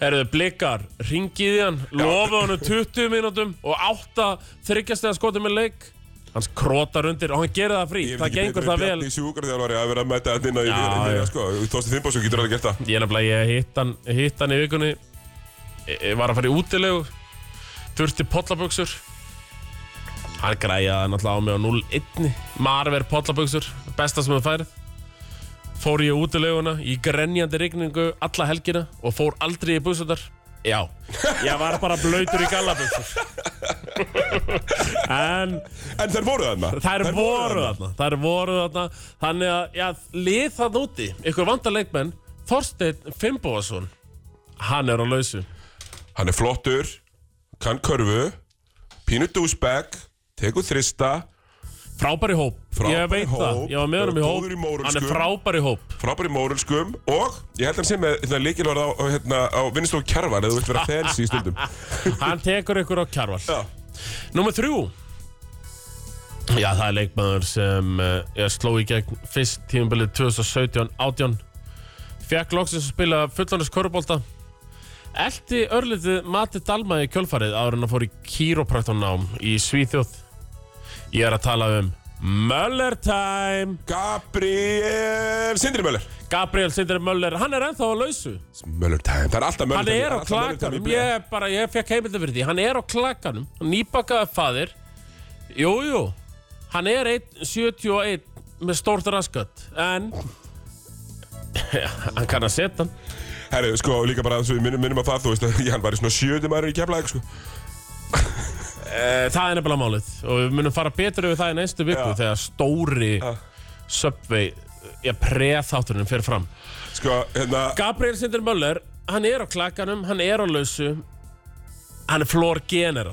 Herðu, blikar, ringið í hann, lofa honum 20 mínútum og átta þryggjastega skotum með leik. Hann skrotar undir og hann gerir það frí. Það gengur það vel.
Ég finnst ekki betur en Bjarni sjúkarþjálfari að vera að mæta þetta inn á í
Já,
fyrir
já.
sko Þorsteinn Finnbóðsson getur alveg gert það
Ég er nefnilega, ég hitt hann, hitt hann í vikunni, Ég- ég var að fara í útilegu, þurfti pollaböksur. Hann græjaði náttúrulega á mig á 0-1, marver pollaböksur, besta sem það færið. Fór ég í útileguna í grenjandi rigningu alla helgina og fór aldrei í busutar. Já, ég var bara blöytur í gallaböksur. en
En þær voru þarna
Þær voru þarna Þær voru þarna Þannig að, já, lið það úti Ykkur vantar leikmenn Þorsteinn Fimboðason Hann er á lausu
Hann er flottur, kann körfu, pínu dúsbæk, tekur þrista,
Frábær í hóp
Frábær
Ég
í
veit
hóp,
það Ég var með honum í
góður í
hóp
mórölsku.
Hann er frábær í hóp
frábær í mórulskum og ég held hann sem með hérna, líkilvara á, á, hérna, á vinnustofu kjarvar eða þú vilt vera fensi í stundum.
Hann tekur ykkur á kjarval
Já.
Númer þrjú Já, það er leikmaður sem uh, ég sló í gegn fyrst tímabilið 2017-18 Fekk loksins að spila fullanus körubólta Elti örlitið Mati Dalma í kjölfarið áður en að fór í kýrópraktornám í Svíþjóð Ég er að tala um Möller time
Gabriel Sindri Möller.
Gabriel Sindri Möller, hann er ennþá á lausu
Möller time. Það er alltaf Möller
Hann
time.
er á
alltaf Möller time í
klakanum,
blíð.
ég er bara, ég fekk heimildi fyrir því Hann er á klakanum, nýbakaði faðir Jú, jú Hann er 1, 71 með stórt raskat En Hann kann að setja hann
Herru, sko, líka bara þess að við minnum, minnum að það, þú veist, að hann var í svona sjöðum aðra í keflaðið, sko.
Eh, Það er nefnilega málið Og við munum fara betur yfir það í næstu viku
Já.
Þegar stóri
Já.
Subway Ég preð þátturinn fyrir fram
Sko, hérna,
Gabriel Sindri Möller, hann er á klakanum Hann er á lausu Hann er floor general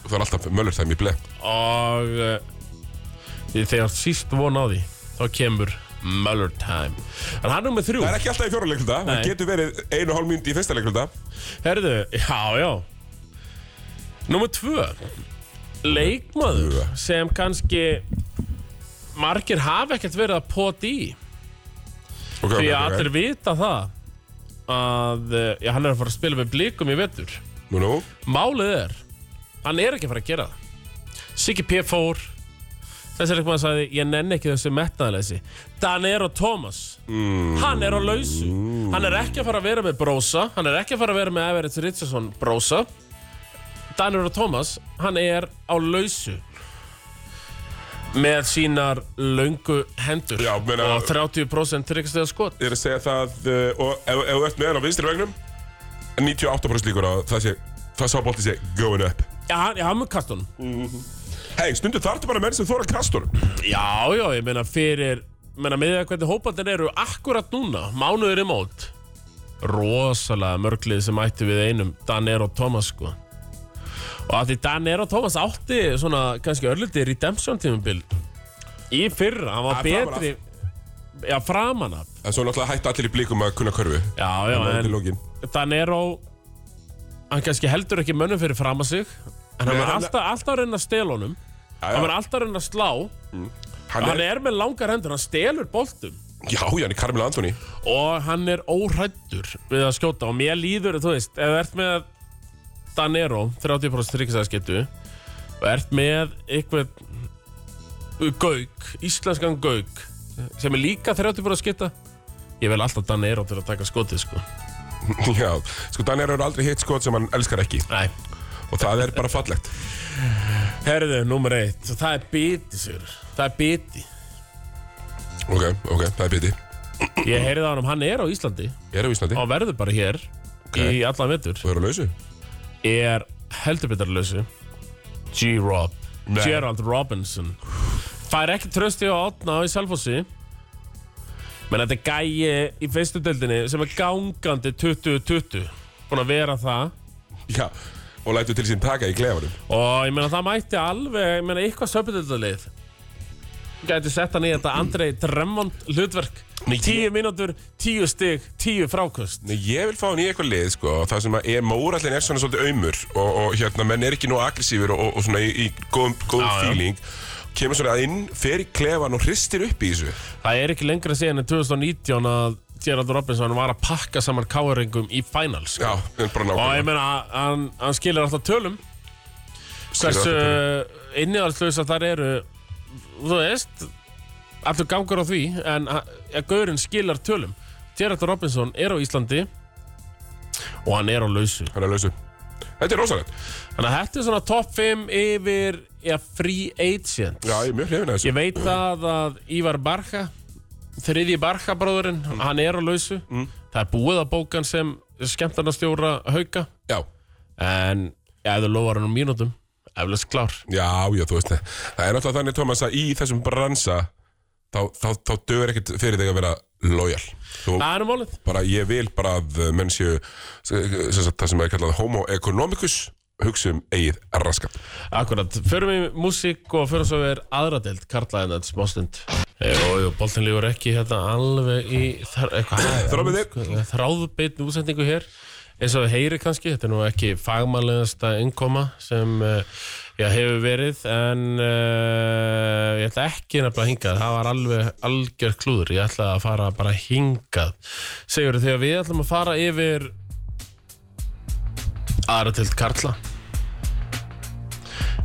það er alltaf Möller time í bleið.
og uh, þegar síst von á því þá kemur Muller time en hann er með þrjú
Það er ekki alltaf í fjóra leikluta, það
Nei.
getur verið einu og hálf mínúti í fyrsta leikluta.
herðu, já, já nummer tvö leikmaður sem kannski margir hafa ekkert verið að pota í
Okay,
því að allir vita það að eh, já, hann er að fara að spila með blikum í vetur
Nú, nú.
Málið er Hann er ekki að fara að gera það Siggi P. fór Þessi er eitthvað að sagði Ég nenni ekki þessu metnaðleysi Dan er á Thomas
Mm.
Hann er á lausu Hann er ekki að fara að vera með Brosa Hann er ekki að fara að vera með Everett Richardson Brosa Dan er á Thomas Hann er á lausu Með sínar löngu hendur
Já, meina-
Og 30% tryggstöða skot
Ég er að segja það uh, og ef, ef þú ert með hann á vinstri vegnum 98% líkur á að það sé það sá bótti sé going up
Já, hann, já, hann mun kasta honum
Hei, stundu þartu bara menn sem þóra kastur
Já, já, ég meina fyrir meina með það hvernig hópandir eru akkurat núna, mánuður í mót rosalega mörglið sem ætti við einum Danero Thomas sko og að því Danero Thomas átti svona kannski örliti redemption tímubil í fyrra, hann var
Ja, framan af.
betri já, framan af
En svo náttúrulega hættu allir í blíkum að kunna körfu
já, já,
Til
en
lokin.
Danero hann kannski heldur ekki mönnum fyrir fram að sig en hann
Nei,
var
hann-
alltaf, alltaf að reyna að stela honum
Já,
hann
já,
var alltaf að reyna að slá
hann
Hann
er,
er með langar hendur, hann stelur boltum
Já, já, hann er Carmelo Anthony
og hann er órættur við að skjóta og mér líður, þú veist ef þú ert með Danero 30% tryggsaðskettu og ert með eitthvað gauk, íslenskan gauk sem er líka 30% sketta ég vel alltaf Danero til að taka skotið sko
Já, sko Daniel er aldrei hitt skot sem hann elskar ekki
Nei.
Og það er bara fallegt
Herðu, nummer eitt, það er biti sigur. það er biti
Ok, ok, það er biti
ég heyrði á hann, hann er á Íslandi
Ég er á Íslandi
og verður bara hér í allan vettur
Og er á lausu
er heldur betur lausu G-Rob
Nei.
Gerald Robinson fær ekki trösti á átna í Selfossi menn þetta er gæi í fyrstu deildinni sem er gangandi 20-20 búin að vera það
Já, og lætur til sín taka í klefanum
og ég meina það mætti alveg ég meina eitthvað söpudildalið gæti sett hann í þetta Andrei Dremmond hlutverk 10 mínútur, 10 stig, 10 frákust
Nei, ég vil fá hann í eitthvað lið, sko, það sem að er mórallin er svona svolítið aumur og, og hérna, menn er ekki nóg aggressífur og, og, og svona í, í góðum, góðum
Já, já.
feeling kemur svona inn, fer í klefan og hristir upp í þessu
Það er ekki lengra síðan en 2019 að Gerald Robinson var að pakka saman káringum í finals
Já, en bara
og ég
nákvæmlega
meina hann, hann skilur alltaf tölum
Skilur
hversu
alltaf
inniðarslösa þar eru þú veist allur gangur á því en að, að gaurinn skilar tölum Gerald Robinson er á Íslandi og hann er á lausu
Hann er lausu Þetta er rosalegt
þannig að þetta er svona top 5 yfir ja, free agent
Já, ég er mjög hrifin að þessu
Ég veit að að Ívar Barka þriðji Barka bróðurinn hann er á lausu það er búið að bókan sem skemmtarnastjóra hauka
Já,
en ja, ef þú lofar hann um mínútum eflust klár
já, já, þú veist það Það er náttúrulega þannig, Thomas, að í þessum bransa þá, þá, þá dögur ekkert fyrir þig að vera lojal Þú
Það er um málið
bara ég vil bara að menn séu sem sagt, það sem er kallað homo economicus hugsa um eigið raskat
Akkurat, förum í músík og förum svo við aðra deild karlaðin þetta smástund Eh, Jó, jú, boltin lífur ekki hérna alveg í þar,
Þráðbeinni.
eitthvað Þráðbeitn útsendingu hér eins og við heyri kannski, þetta er nú ekki fagmælegasta innkoma sem eh, já, hefur verið en uh, ég ætla ekki nefnilega að hingað, það var alveg algjör klúður, ég ætla að fara bara hingað segjur þegar við ætlum að fara yfir aðra deild karla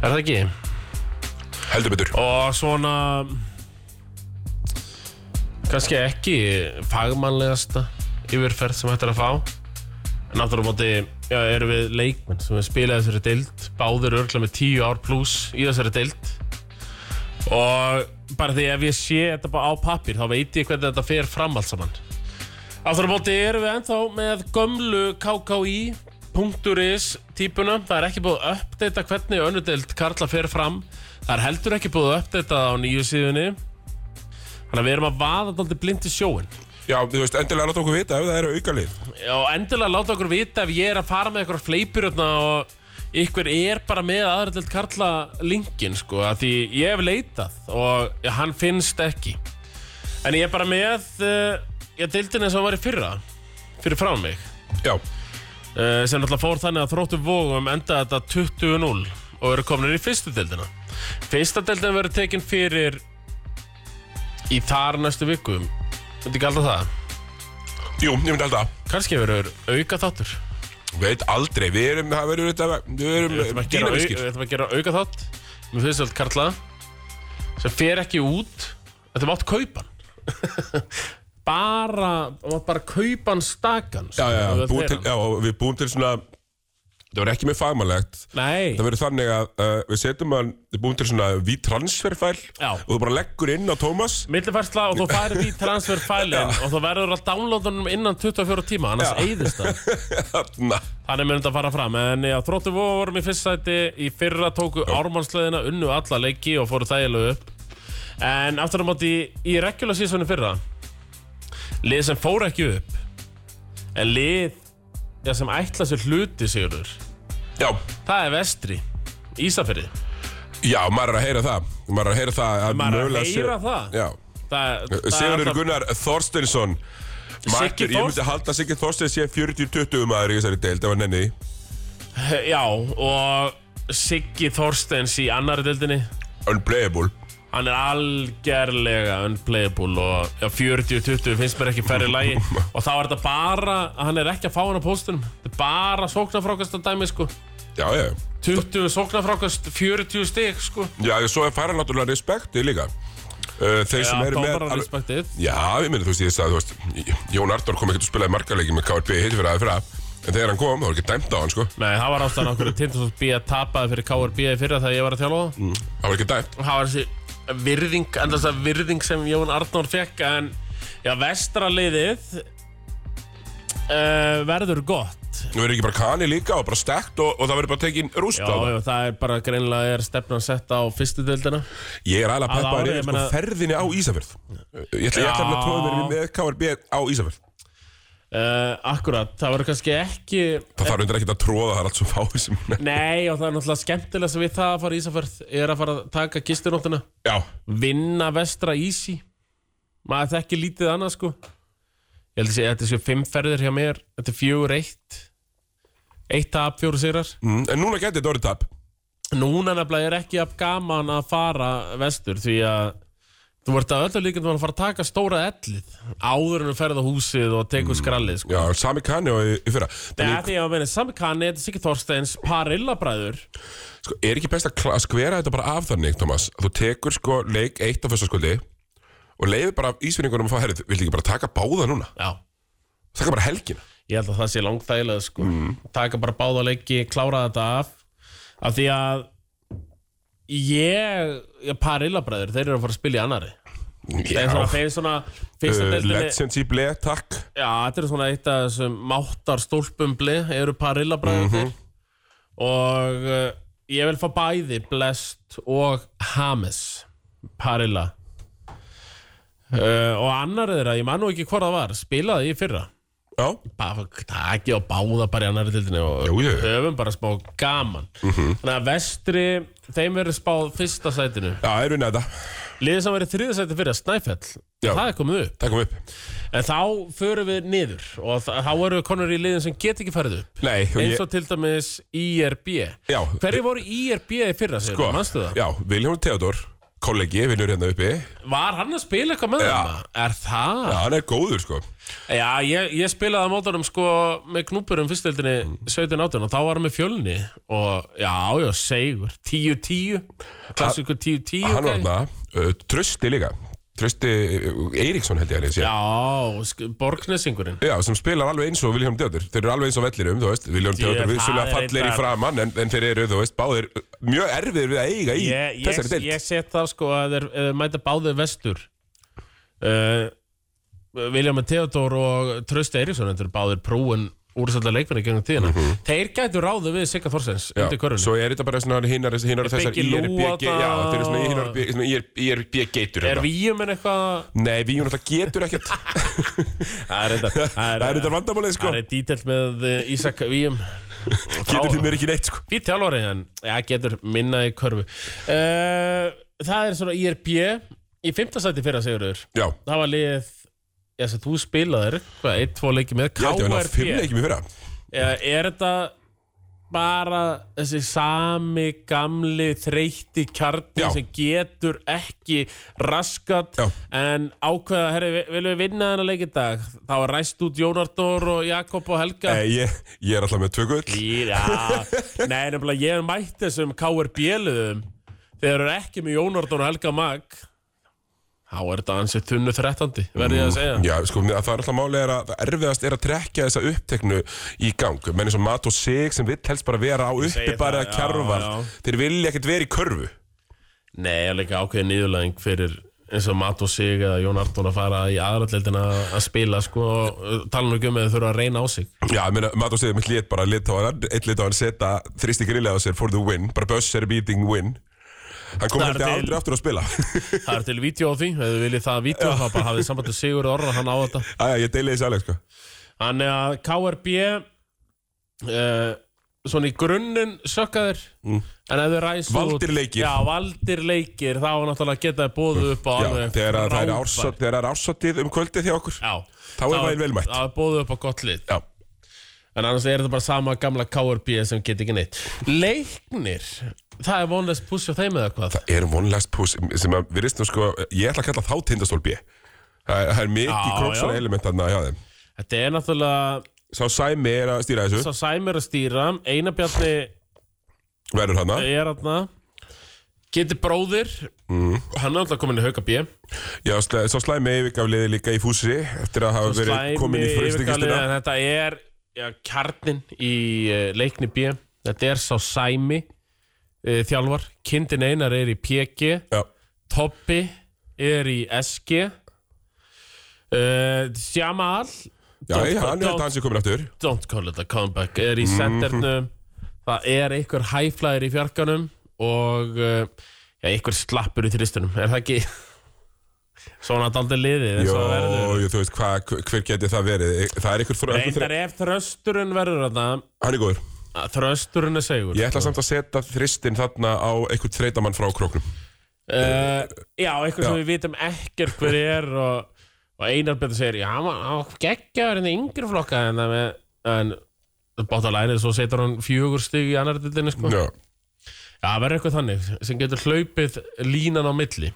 Er það ekki?
heldur betur
og svona kannski ekki fagmannlegasta yfirferð sem hægt er að fá en náttúrulega á móti já, erum við leikmenn sem við spilaði þessari deild báðir örgla með tíu ár pluss í þessari deild og bara því ef ég sé þetta bara á pappir þá veit ég hvernig þetta fer fram allt saman Aftur á móti erum við ennþá með gömlu KKI.is típuna. Það er ekki búið að uppdata hvernig önnudelt Karla fer fram. Það er heldur ekki búið að uppdata það á nýju síðunni. Þannig að við erum að vaða dálítið blindi sjóin.
já, þú veist, endilega láta okkur vita ef það eru aukalið
Og endilega láta okkur vita ef ég er að fara með eitthvað fleipur hérna og ykkur er bara með aðrættild Karla linkin sko. Af því ég hef leitað og hann finnst ekki. En ég er bara með, uh, ég deildin eins og hann var í fyrra, fyrir frá mig.
já,
Eh, sem náttúrulega fór þannig að þróttu vógum enda þetta 20-0 og eru komin í fyrstu deildina fyrsta deildin verður tekin fyrir í þar næstu viku myndi ekki alltaf það
jú, ég myndi alltaf
kannski verður auka þáttur
veit aldrei, við erum, það verður þetta við
við
erum
ætlum að
dýnamiskir
gera, au, gera auka þátt með fyrstu deild Karla sem fer ekki út þetta mátt kaupan bara, mátt bara kaupan stakan sko.
já, já, já, búum til, já, og við búum til svona það verður ekki með fagmannlegt
nei,
það verður þannig að uh, við setjum að við búum til svona V-transferfæl
Já.
og þú bara leggur inn á Thomas
millifærsla og þú færir í transferfælin og þú verður að downloada honum innan 24 tíma annars
Já.
eyðist það
þarna
þannig mun þetta fara fram en já, þróttu vorum í fyrst sæti í fyrra tóku ármannsleðina unnu alla leiki og fóru þægilega upp en aftur á móti í regular seasonu fyrra lið sem fór ekki upp en lið já, sem ætla sér hluti sigurður
já,
það er vestri Ísafyrði
já, maður er að heyra það maður er að heyra það
Maður
að
er að
mögulega sé-
heyra það?
já
það, það er
Sigurður
alltaf-
Gunnar Þorsteinsson Mættur, ég myndi
Þorsteins-
halda að Siggi Þorsteins sé 40-20 maður í þessari deild, það var nenni
Já, og Siggi Þorsteins í annari deildinni
Unplayable
Hann er algerlega unplayable og já, 40-20 finnst mér ekki færri lægi og þá er þetta bara, hann er ekki að fá hann á póstunum þetta er bara sóknarfrákast að dæmi sko
Já, já,
20 sóknarfrákast, 40 stig sko
já, svo er fara náttúrulega respekti líka uh, Þeir
Já,
sem eru með
dómarar
alveg-
respektið
Já, ég meina, þú veist, ég sagði, þú veist Jón Ardór kom ekkert og spilaði margarleiki með KRB hitt fyrir aðeins fyrir að En þegar hann kom, þá var ekki dæmt á hann, sko
Nei, það var ástæðan okkur Tindastóls B að tapaði fyrir KRB í fyrra þegar ég var að þjálfa það
Mm, Það var ekki dæmt
Það var þessi virðing, endast að virðing sem Jón Arnór fekk en já, vestra liðið uh, verður gott
Nú verður ekki bara kani líka og bara stekt og, og það verður bara tekin rúst
Já,
á það
já, það er bara greinlega er stefnan sett á fyrstu deildina
Ég er alveg að
Að
peppa
ári,
þér
ég
yfir sko
meina-
ferðinni á Ísafjörð Ég ætla ég ætla nefnilega að tróða mér með KRB á Ísafjörð
uh, Akkurat, það verður kannski ekki
Það þarf undir ekkert að tróða, það er allt svo fáið sem
Nei, og það er náttúrulega skemmtilegast við það að fara í Ísafjörð er að fara að taka gistinóttina
Já,
vinna vestra Ísi maður þekki lítið annað sko ég held að sé- þetta séu fimm ferðir hjá mér þetta er fjögur eitt eitt tap, fjóru sigrar
mm, en núna gæti þetta orðið tap
Núna nefnilega er ekki af gaman að fara vestur því að þú ert að öllu líkandum að fara að taka stóra ellið áður en þú ferð á húsið og tekur skrallið sko.
Já, sami kanni og í, í fyrra
Nei,
Þannig,
því að meina, sami kanni, þetta er Siggi Þorsteins parillabræður
sko, er ekki best að kla- að skvera þetta bara af þannig, Thomas að Þú tekur sko leik eitt á fyrstaskvöldi og leiði bara ísvinningunum að fá herrið Viltu ekki bara taka báða núna?
Já,
Taka bara helgina
ég held að það sé langt þægilega sko. taka bara báða leiki, klára þetta af af því að ég, ég parillabræður, þeir eru að fara að spila í annari þeir svona, þeir svona fyrsta
Uh,
deildinni-
Legends í ble, takk
Já, þetta er svona eitt af þessum máttar stólpumbli, eru parillabræðið mm
Mhm.
og uh, ég vil fá bæði Blest og Hames parilla uh, og annar þeirra, ég man nú ekki hvort það var spilaði í fyrra
Já,
bara takið og báða bara í annari dildinni og
Jú, Mhm. jú.
höfum bara smá gaman þannig að vestri, þeim verður spáð fyrsta sætinu
já, erum við neða þetta
liðið sem verið þriða sætinu fyrra, Snæfell
Já.
það er komið upp
Takkum upp
En þá förum við niður og þa- þá erum við konur í liðin sem get ekki farið upp
Nei, og
eins
Sko, ég,
og til dæmis IRB
Já.
Hverju voru IRB í fyrra sér,
sko,
manstu það?
Já, Viljón Theodor, kollegi, vinnur hérna uppi Já,
Var hann að spila eitthvað með
Já.
það? Er það?
hann er góður, sko
Já, ég, ég spilaði á mótunum sko með knúpurum fyrstildinni 17-18 og þá var hann með fjölni og já, já, segur 10-10, klassikur 10-10
Hann var
ok?
hérna, uh, Trösti líka Trösti Eiríksson held ég hann sé.
Já, sk- Borgnesingurinn
Já, sem spilar alveg eins og Viljón Theodor Þeir eru alveg eins og vellinum, þú veist Viljón Theodor
það
vissulega
er
fallir í
reyndar-
framann en, en þeir eru, þú veist, báðir uh, mjög erfiðir við að eiga í
ég,
þessari
ég,
deild
ég set það sko að þeir, þeir mæta báðið vestur uh, William Theodor og Trausti Eiríksson þetta eru báðir próun úrsætla leikmenni gegnum tíðina þeir gætu ráðu við Sigga Þorsens
Mhm. Já,
undir körunni
svo er þetta bara svona hinnar, hinnar þessar
Biggi
IRB
Lúa
Já, þetta eru svona
þarna.
hinnar svona IRB IRB
er
geitur hérna.
víum en eitthvað
Nei, við hún alltaf getur ekkert
það er þetta
Það er þetta vandamálið sko
það er dítill með eh, Ísak Víum
Getur því mér ekki neitt sko
Fýtt þjálfari en ja, getur minna í körfu uh, það er svona IRB í fymtasæti fyrra segurður
Já,
það var liðið ég sé, þú spilaðir, hvað, einn, tvo leiki með
ég ætti að vera fimm
KRP,
leikjum í fyrra
Eða er þetta bara þessi sami gamli þreyti kjarni
Já.
sem getur ekki raskat
Já.
en ákveða, herri, vi- viljum við vinna þennan leik í dag, þá var ræst út Jónardór og Jakob og Helga
Nei, Eh, ég, ég er alltaf með tvö gull
Já, nei, nefnilega ég hef mætt þessum KRB-liðum þegar þeir eru ekki með Jónardór og Helga Mag þá er þetta ansið tunnu þrettandi, verði ég að segja
Já, sko, mér- það er alltaf málið er að það erfiðast er að trekja þessa uppteknu í gang menn eins og Mat og Sig sem vill helst bara vera á uppi
segi það,
bara að
já,
kjarvar
já.
Þeir vilja ekkert vera í körfu
Nei, ég er líka ákveðin niðurlæðing fyrir eins og Matt og Sig eða Jón Artón að fara í aðralleldina að spila sko, og, uh, tala nú ekki um að þau þurfa að reyna á sig
Já, ég meina, Mat og Sig mitt lét bara lit á hann eitt lit á hann setja þristi grillið á sér for the win bara buzzer beating win Hann kom
Það er
held ég
til-
aldrei aftur að spila
Það er til vídeo á því, ef þau viljið það vídeo þá bara hafið samband við Sigur Orra, hann á þetta
Æja, ég deili þessi alveg sko
Þannig að KRB uh, svona í grunninn sökkaðir en ef þau ræst
Mm. Valdir leikir.
Já, valdir leikir, þá náttúrulega geta þau bóðu upp á
Já,
alveg
þegar að það er
frábær-
ársat- þegar það er ársatið um kvöldið hjá okkur
Já,
Þá er væri vel mætt.
Þá er bóðu upp á gott lið
Já,
En annars er þetta bara sama gamla KRB sem get ekki neitt Leiknir það er vonlust puss á þeim eða hvað
Það er vonlegst pús sem að við reistum sko, ég ætla að kalla þá tindastól B. Það er, það er mikið
Já,
kropsona
já.
element þarna hjá þeim.
Þetta er náttúrulega
Sá Sæmi er að stýra þessu,
Sá Sæmur að stýra Einabjarni
verður hana.
er aðna Geti bróðir Hann er náttúrulega komin í hauka B
Já, sl- sá Slæmi yfirgaf liði líka í fúsi eftir að hafa verið komin í
yfirgalið,
fyrstikistina.
en Þetta er já, kjarnin í uh, leikni B Þetta er sá Sæmi uh, Þjálfar, kindin einar er í PG
Já,
Toppi er í SG uh, Sjamal
já, já, hann er þetta hans sem komin aftur.
Don't call it a comeback er í sendernum það er einhver hæflæðir í fjarkanum og uh, já, einhver slappur í þristunum er það ekki svona daldi liðið eins
Jó,
og það verður
jú, þú veist, hva, hver- hver geti það verið? E, Það er einhver þrjóð,
reyndar ef þrösturinn verður þarna
hann er góður.
að þrösturinn er segur
Ég ætla samt að setja þristinn þarna á einhvern þreitamann frá króknum.
uh, já, einhver sem
Já.
við vitum ekkert hver er og, og Einar betur segir já, hann var- hann var geggjaður en það yngri flokka en það með en, bátt á lærið svo setur hann fjögur stig í annar dildinni sko
Já,
Já, það verður eitthvað þannig sem getur hlaupið línan á milli.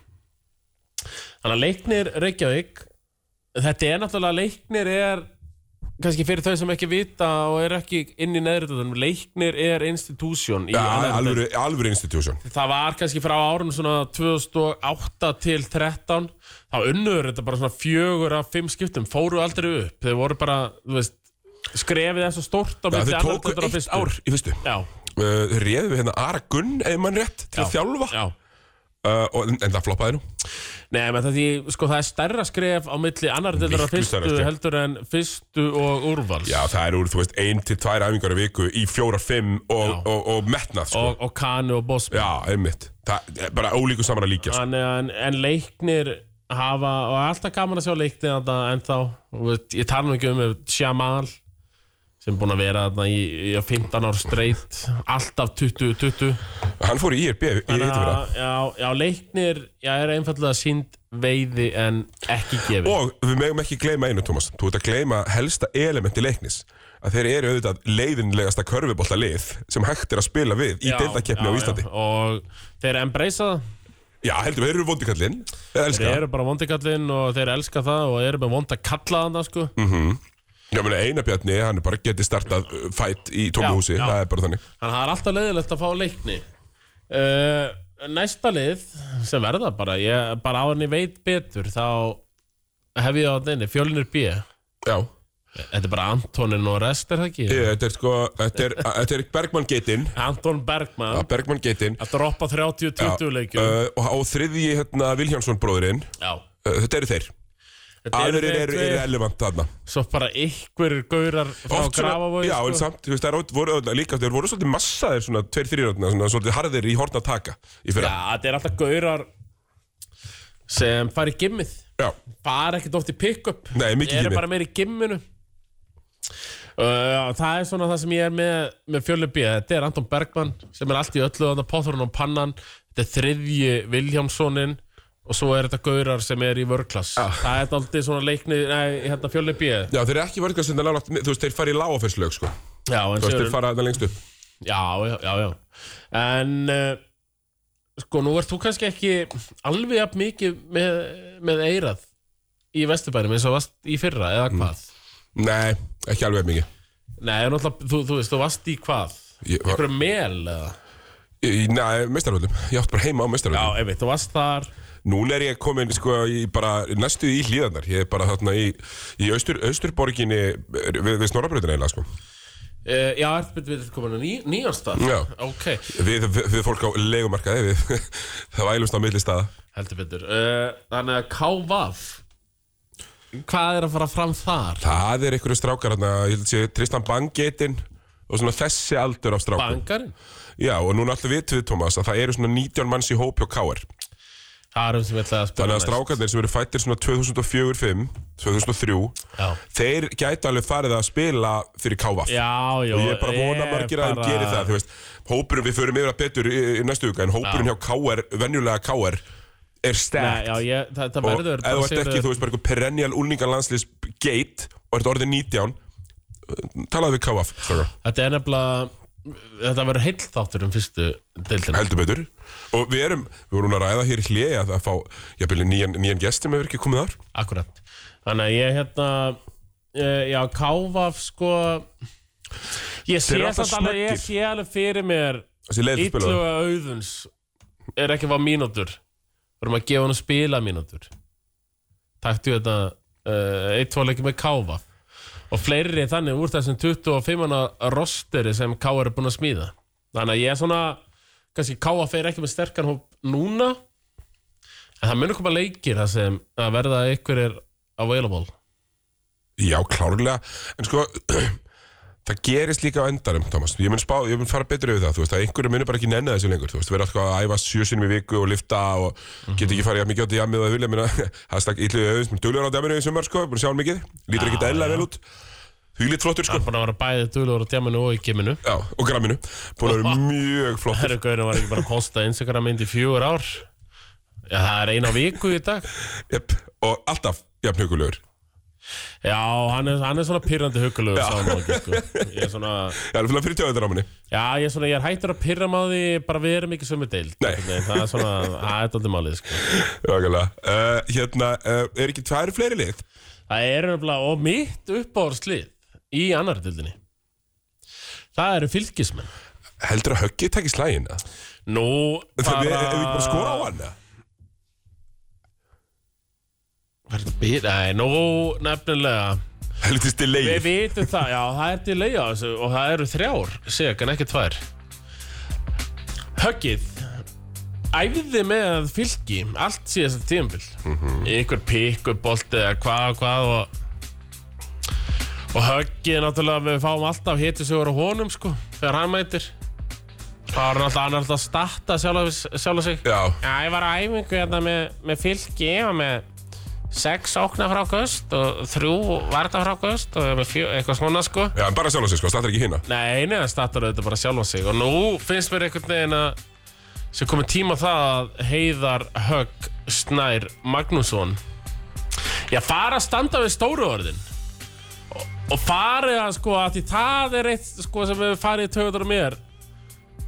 Þannig að leiknir Reykjavík, þetta er náttúrulega leiknir er, kannski fyrir þau sem ekki vita og er ekki inn í neðritöðunum, leiknir er institution í
Já,
annarri deild.
alvöru, alvöru institution.
Það var kannski frá árunum svona 2008 til 13 þá unnur þetta bara svona fjögur af fimm skiptum, fóru aldrei upp þeir voru bara, þú veist, skrefið þessu stórt á
Já,
milli
þau
annarri
tóku
deildar og
eitt
fyrstu.
ár í fyrstu.
Já,
Uh, Þau réðu við hérna Ara Gunn, ef mann rétt, til að
Já.
þjálfa.
já.
Uh, og, en það floppaði nú.
Nei, menn það, því, sko, það er stærra skref á milli annar deildar að
Miklu
fyrstu
stærra skref.
heldur en fyrstu og úrvals
Já, það er úr, þú veist, ein til tvær æfingar í viku í fjórar, fimm og, og, og, metnað, sko.
og, og Kanu og Bosman
Já, einmitt. Það er bara ólíku saman að líka, sko.
en, en, en leiknir hafa og er alltaf gaman að sjá leiknir þetta ennþá Og veit, ég tala nú ekki um Sjamal sem er búin að vera þarna í, í 15 ár straight alltaf 20-20
Hann fór í E IRB í Ítifra.
já, já, leiknir já, er einfallega sínd veiði en ekki gefið
Og við megum ekki gleyma einu, Tómas. Þú ert að gleyma helsta elementi leiknis. Að þeir eru auðvitað leiðinlegasta körfubolta lið sem hægt er að spila við í
Já,
deildakeppni
já,
á Íslandi.
já, og þeir embracea það
Já, heldur við, þeir eru vondikallinn. Þeir elska
Þeir
það.
eru bara vondikallinn og þeir elska það og eru með vond að kalla þannig sko.
Mm. Já, meni, Einabjarni, hann er bara getið startað uh, fætt í
Já,
tómuhúsi.
já.
Það er bara þannig.
Þannig að það er alltaf leiðilegt að fá leikni uh, Næsta lið sem verða bara, ég bara á henni veit betur þá hef ég á henni fjölnir B
Já.
Þetta er bara Antonin og rest er það ekki?
Ég, þetta er sko, þetta er, að- þetta er Bergmann geitin.
Anton Bergman
Bergmann geitin.
að droppa 30-20 leikjum
Uh, og, og þriðji, hérna, Vilhjánsson bróðurinn.
Já
Uh, þetta eru þeir.
Þetta eru
Aðurir
þeir
eru
tveir,
irrelevant þarna.
Svo bara ykkur gaurar frá
Oft svona-
Grafavogi
Já, en
sko.
samt, þú veist, það er oft- voru öll- líka, þeir voru svolítið massaðir svona, tveir þrýrjóðna, svona, svolítið harðir í horn að taka í
sko. Já,
fyrra.
þetta er alltaf gaurar sem fari gimmið
Já.
bara ekkert oft í pick-up
Nei, mikið
Ég
gimmið.
er bara meir í gimminu uh, Það er svona það sem ég er með með fjölubi, þetta er Anton Bergman sem er allt í öllu, þannig að potthorn og pannan þetta er þriðji Viljámssonin og svo er þetta Gaurar sem er í vörklass
Ah.
Það er aldrei svona leikni nei, hérna fjölubi Já,
Já, þeir eru ekki vörgast þetta nálátt, þú veist, þeir fara í lágafesslög, sko.
en
Þú veist, þeir
Sigurður-
fara þetta lengst upp.
já, já, já, já. En uh, sko, nú ert þú kannski ekki alveg jafn mikið með, með eirað í vesturbænum eins og varst í fyrra, eða hvað?
Nei, ekki alveg mikið.
Nei, en náttúrulega, þú, þú veist, þú varst í hvað?
Ég var,
Einhverju mel eða?
í, nei, mestarvöldum. Ég átt bara heima á
Já,
mestarvöldum.
einmitt, þú varst þar
Núna er ég komin, sko, í bara næstu í hlíðarnar. Ég er bara þarna í, í austur, austurborginni við, við Snorrabröðina eiginlega, sko.
uh, Já, ertu byrjuð byrjuð komin á ný, nýjanstað?
Já.
Ok,
Við, við, við fólk á legumarkaði, við, það vælumst á milli staða.
heldur byrjuð uh, Þannig að Kávaf Hvað er að fara fram þar?
Það er einhverju strákar hérna, ég held að sé Tristan Bangeitinn og svona þessi aldur af strákum.
Bankarinn?
Já, og núna alltaf vitum við, Tómas, að það eru svona 19 manns í hópi og káar.
Það er um sem ég ætlaði að spila
Þannig að strákarnir sem eru fættir svona 2004-05, 2003,
Já,
þeir gætu alveg farið að spila fyrir kávaf.
já, já
Og ég er bara að vona
ég
margir að þeim
bara-
geri það, þú veist. Hópurinn, við förum yfir að betur í, í næstu huga, en hópurinn hjá káar, venjulega káar, er
Nei,
stærkt.
já, ég, það, það
Og
verður
ef þú ert ekki, þú veist, bara einhver perennial úlningalandslís gate og ert orðið 19, talaðu við káaf, strákar.
Þetta er nefnilega þetta verður heill þáttur um fyrstu deildina
heldur betur og við erum, við vorum að ræða hér í hljé að, að fá, ég byrja nýjan, nýjan gest sem hefur ekki komið þar
Akkurat Þannig að ég hérna uh, Já, Kávaf sko Ég sé
Þeir eru
samt
alltaf
alveg Ég
snöggir.
sé alveg fyrir mér
þessi leið til
Illu og auðuns Er ekki að fá mínútur Vorum að gefa hann að spila mínútur Taktu þetta uh, Eitt tvoleiki með Kávaf Og fleiri þannig úr þessum 25 manna rosteri sem Káar er búin að smíða Þannig að ég er svona kannski Káa fer ekki með sterkan hóp núna en það munur koma leikir það sem að verða ykkur er available
Já, klárlega, en sko það gerist líka á endanum, Thomas ég mun, spá, ég mun fara betur yfir það, þú veist að einhverju munir bara ekki nenni þessu lengur, þú veist, verða alltaf að æfa sjö sinum í viku og lifta og get ekki farið jafn mikið á djamið og það vilja, minna, það stakk illu auðvins, mér duglur á djaminu í sumar, sko, búin að sjá hann mikið lítur ekki
Já,
dæla
já.
vel út, huglit flottur,
hann
sko
er búin að vera bæðið duðlur á tjáminu og í geminu
Já, og gramminu, búin að vera mjög flottur
herru gaurin var ekki bara að kosta Instagram mynd í fjögur ár já, það er eina viku í dag
yep. og alltaf jafn hugulegur
já, hann er, hann er svona pyrrandi hugulegur sá hann ekki, sko. ég er svona
Já, alveg fyrir tjóðaráminni
já, ég er svona, ég er hættur að pyrra maður því bara við erum ekki sömu deild
Nei.
Nei, það er svona, það er daldið málið sko.
uh, Hérna, uh, er ekki tvær fleiri lið?
Það er nefnilega, og mitt uppáhaldslið í annar dildinni Það eru fylgismenn
Heldur að höggið takk í slægina?
Nú,
Bara... Við hefum ekki bara skora á hann eða?
Verður býr, nei, nú nefnilega
Helvitist delay
Við vitum það, já, það er delay á þessu og það eru þrjár, segan ekki tvær Höggið Æfði með fylgi allt síðast tímabil mm -hmm. Ykkur pikk, upp bolti eða hvað og hvað og og höggið náttúrulega við fáum alltaf hitisögur á honum sko þegar hann mætir þá er hann alltaf, hann er alltaf að starta sjálfa, sjálfa sig
Já,
Já, ég var á æfingu hérna með, með fylki og með sex ókna frá gust og þrjú varta frá gust og með fjö, eitthvað svona sko.
já, en bara sjálf sig sko, stattar ekki hérna
Nei, neða startar auðvitað bara sjálfa sig og nú finnst mér einhvern veginn að sem komið tíma á það að heiðar högg snær Magnússon Já, fara að standa við stóru orðin og, og farið að sko að því það er eitt sko sem hefur farið í tögutur á mér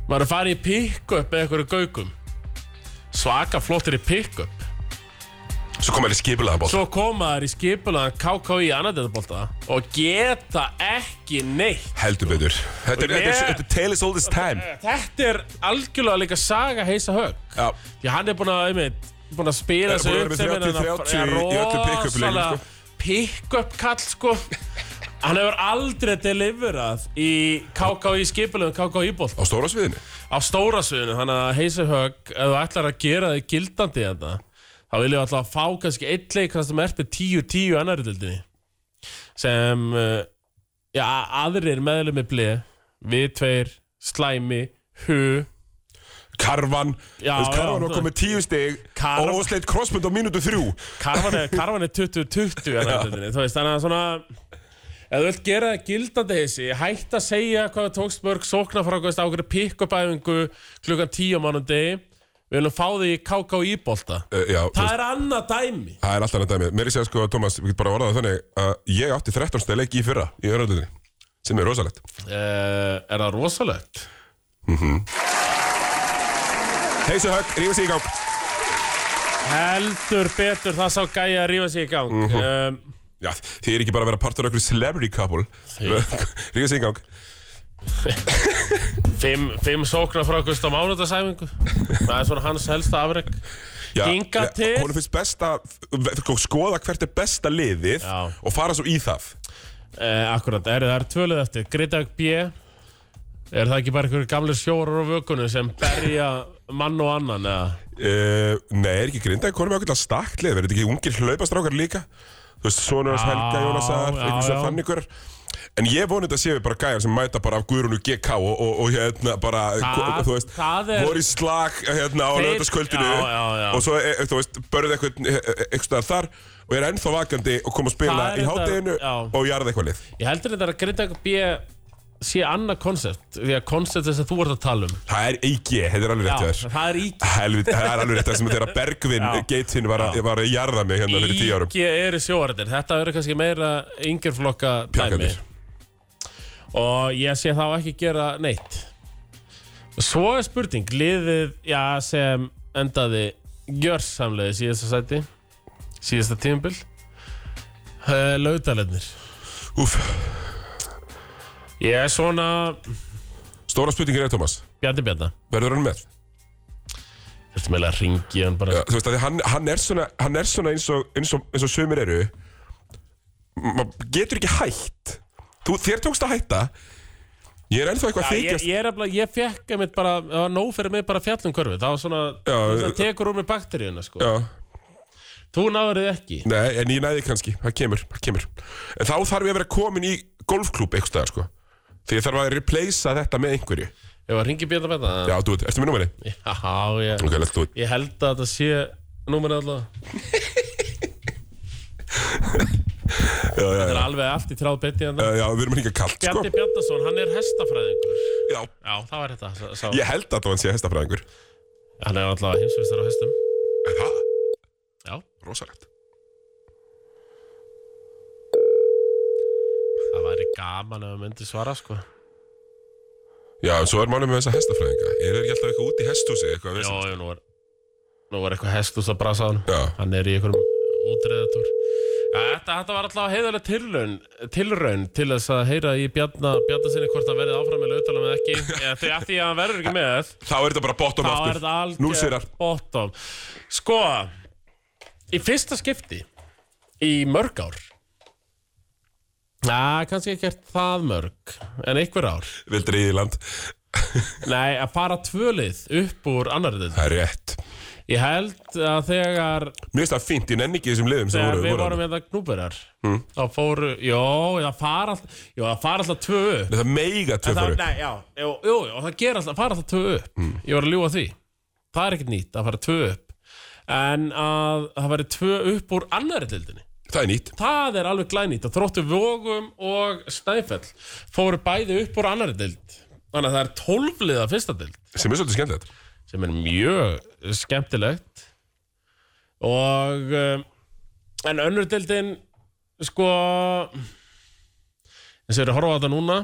maður er farið í pick-up með einhverju gaukum svaka flottir í pick-up
Svo kom alveg skipulega ból
Svo koma þær í skipulaðan KKÍ annaðeitabolta og geta ekki neitt.
Heldur betur Þetta er,
Og
þetta er,
ég-
þetta er tale is all this time
Þetta er algjörlega líka saga heisa högg.
Já,
Því hann er búinn að, einmitt, búinn að spila
Er
þessu
búinn að
upp
vera með 30-30
þennan-
í öllum pick-up leikjum,
rosalega
sko.
pick-up kall, sko. Hann hefur aldrei deliverað í KKÍ skipulaðan KKÍ bolta.
á stóra sviðinu
á stóra sviðinu, þannig að heisehög ef þú ætlar að gera þig gildandi þetta þá viljum við alltaf fá kannski eitt leik kannski sem ert með 10-10 annari dildinni sem uh, já, aðrir meðlum með blei við tveir, slæmi hu,
Karvan
Já,
Þú veist, Karvan
já,
var komið tíu stig
Karvan-
Og ósleitt crossbund á mínútu þrjú
karvan er, karvan er 20-20 í annarri deildinni, þú veist, þannig að svona ef þú vilt gera þig gildandi heisi hætt að segja hvað það tókst mörg sóknarfrákvæðist á okkur pick-up-æfingu klukkan 10 mánum degi við viljum fá þig í KKÍ-bolta
uh, Já, þú
það
veist,
er annað dæmi
það er alltaf hann að dæmi Mér er sér sko, Thomas, við getum bara orðað það þannig að Ég átti 13 steg leik í fyrra í öðröldinni Sem er rosalegt Eh,
Uh, er það rosalegt?
Heisa högg, rífa sig í gang
Heldur betur það sá gæja að rífa sig í gang
Mhm.
um,
Já, þið er ekki bara að vera partur af einhverju celebrity couple Rífa sig í gang
Fimm, fimm sóknar frá Gust á mánudagsæfingu Það er svona hans helsta afreg
Já,
Hingað
ja,
til.
Honum finnst best að sko, skoða hvert er besta liðið
Já.
og fara svo í það
uh, Akkurat, er það er tvölið eftir Grindag B Er það ekki bara einhverju gamlir sjórar á vökunum sem berja mann og annan eða?
uh, Nei, er ekki grinda, konum er okkur stakt lið verður þetta ekki ungir hlaupastrákar líka Þú veist, sonur hans
Já,
Helga Jónasar
já,
einhvers
já.
og þannig hver En ég voni þetta séu bara gæjar sem mæta bara af Guðrúnu GK og, og, og hérna bara,
Það-
þú veist,
það er-
voru í slag hérna á
Þeir-
lögðaskvöldinu
Já, já, já.
og svo, e, e, þú veist, börðu eitthvað eitthvað þar og er ennþá vakandi og kom að spila
Það er
í
þetta-
hátteginu
já.
og jarða eitthvað lið.
Ég heldur þetta að Grindag B sé annað koncept því að koncept þess að þú ert að tala um
Það er ekki, þetta er alveg rétt hjá þér.
það er ík
Helviti, það er alveg rétt það sem þegar Bergvin
Já.
geitinn var, að- var að jarða mig hérna fyrir tíu árum
Ígi eru sjóarðir Þetta verður kannski meira yngjörflokka dæmi
Pjakkarnir.
og ég sé þá ekki gera neitt Svo er spurning liðið já, sem endaði gjörsamlega í síðasta sæti síðasta tímabil uh, Laudalennir
Úf,
Ég er svona
stóra spurningin er Thomas
Bjarni Bjarni
Verður hann með?
Þetta meðlega ringi hann bara
Já, Þú veist að því hann, hann, er svona, hann er svona eins og, eins og, eins og sömur eru Maður getur ekki hætt Þú, Þér tókst að hætta Ég er ennþá eitthvað að
Já, ég,
þykjast
ég er að ég fekk einmitt bara, það var nóg fyrir mig bara fjallum körfi, það var svona,
Já,
það tekur úr með bakteríuna sko.
Já,
Þú náður þið ekki.
nei, en ég næði kannski, það kemur, það kemur En þá þarf ég að vera komin í golfklúb eitthvað staðar, sko Því ég þarf að replacea þetta með einhverju Já,
Ég var að ringi Bjarni Bjarni.
þú veit, ertu með númerið?
Já, ég,
Ok, let's do it
ég held að þetta sé númerið allavega.
Já, já,
Það
já,
er alveg allt í þráð betið en það.
Uh, já, við erum líka kalt, sko
Bjarni Bjarnason, hann er hestafræðingur.
Já,
Já, það var þetta. Sá, sá.
ég held að það hann sé hestafræðingur
Hann er allavega hinsvistar á hestum.
En það,
Já,
rosalegt
það væri gaman ef hann myndi svara sko.
Já, en svo er málum með þessa hestafræðinga Er þeir ekki alltaf eitthvað út í hesthúsi, eitthvað
Jó,
vesen?
jó, nú var, nú var eitthvað hest úr það brasa á hann.
Já,
hann er í einhverjum útreðatúr þetta, þetta var alltaf heiðarlega tilraun, tilraun til þess að heyra í Bjarna, Bjarna sinni hvort það verið áfram með lautalum eða ekki Eða því að því að hann verður ekki með
þá er þetta bara bottom
þá
aftur
er þetta
Nú sigrar.
algjör bottom sko í fyrsta skipti í mörg ár Na, kannski ekki er það mörg en einhver ár
Vildur í Íland
nei, að fara tvölið upp úr annarðin
Það er rétt
ég held að þegar
Mér finnst það fínt, ég nenni ekki þessum liðum sem
Þegar
voru,
við
voru.
vorum
voru.
með það knúberjar þá fóru, jó, það fara alltaf jó, það fara alltaf tvö upp
Nei, Það meiga tvö
það,
fóru
Nei, já, jú, jú, jú, það ger alltaf, fara alltaf tvö upp Ég var að ljúga því Það er ekkert nýtt að fara tvö upp En að það væri tvö upp úr annari tildinni
Það er nýtt
Það er alveg glænýtt að þróttu vogum og snæfell fóru bæði upp úr annari tild Þannig að það er tólfliða fyrsta tild
Sem er svolítið skemmtilegt
sem er mjög skemmtilegt og um, en önnur deildin sko eins og eru að horfa á þetta núna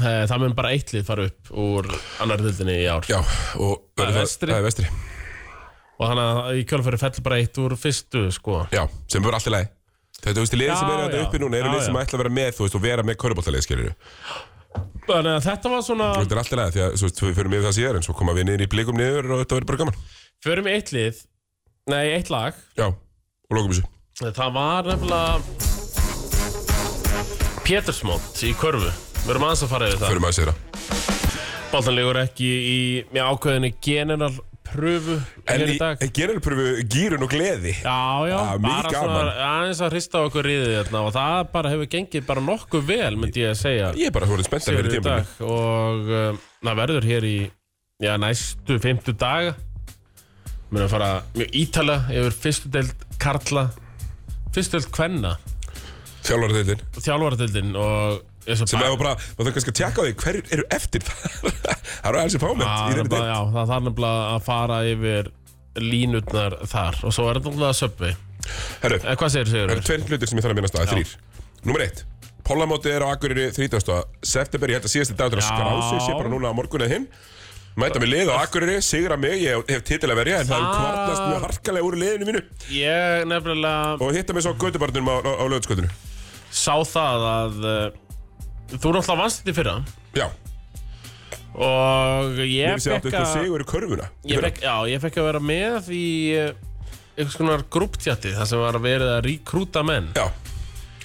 eh, það mun bara eitt lið fara upp úr annar deildinni í ár
Já, og
Það er vestri.
Það er vestri
og þannig að í kjölfæri fell bara eitt úr fyrstu sko
Já, sem verður alltaf leið Þetta, þú veist, liðin sem
Já,
eru þetta
já.
uppi núna eru
Já,
liðin sem
já.
ætla að vera með, þú veist, og vera með körubáltaleið, skilur
þannig að þetta var svona
Þetta er alltaf leið, því að, þú veist, við förum yfir það síðar en svo koma við niður í blikum niður og þetta verður bara gaman
förum í eitt lið nei, eitt lag
Já, og lokum þessu
það var nefnilega Pétursmót í körfu við erum aðeins að fara yfir það
Förum aðeins yfir það
Bóltan leikur ekki í með ákveðinu general pröfu
En
hér í
í,
dag.
en gerir pröfu gýrun og gleði
Já, já,
Ah,
bara
mikið
svona aðeins að hrista okkur riðið þarna og það bara hefur gengið bara nokkuð vel, myndi ég að segja
Ég er bara þú spennt að vera
fyrir í
tíma
dag og um, það verður hér í já, næstu 50 daga Mér erum að fara mjög ítala yfir fyrstu deild Karla fyrstu deild Kvenna
Þjálfardeildin
og þjálfaradeildin og eins og
sem
bara-
hefur bara, maður þarf kannski að tjekka á því hverjir eru eftir það það eru alls í fámynd
Já,
í
það er Ah,
þeirri
bara-
deild
já, það þarf nefnilega að fara yfir línutnar þar og svo er þetta náttúrulega söpvi
Herru,
Eh, hvað segir
það eru
Sigurður?
tveir hlutir sem ég þarf að minnast að, þrýr Númer eitt, Pólamóti er á Akureyri 30. september, ég held að síðasti dagur að
Já.
skrá sig, sé bara núna á morgun eða hinn Mæta mig lið á Akureyri, sigra mig, ég hef titil að verja en það er
Það-
kvartast mjög harkalega úr liðinu mínu
Ég nefnilega
og hitta mig svo á gödubarnum á, á, á löðskötunum
sá það að uh, þú náttúrulega vannst þetta í fyrra
Já,
og ég
ég sé
fekk
áttu eitthvað
að
sko, sigur í körfuna í
ég
fyrra.
fekk, já, ég fekk að vera með í uh, einhvers konar grúptjatti þar sem var verið að rekrúta menn
Já,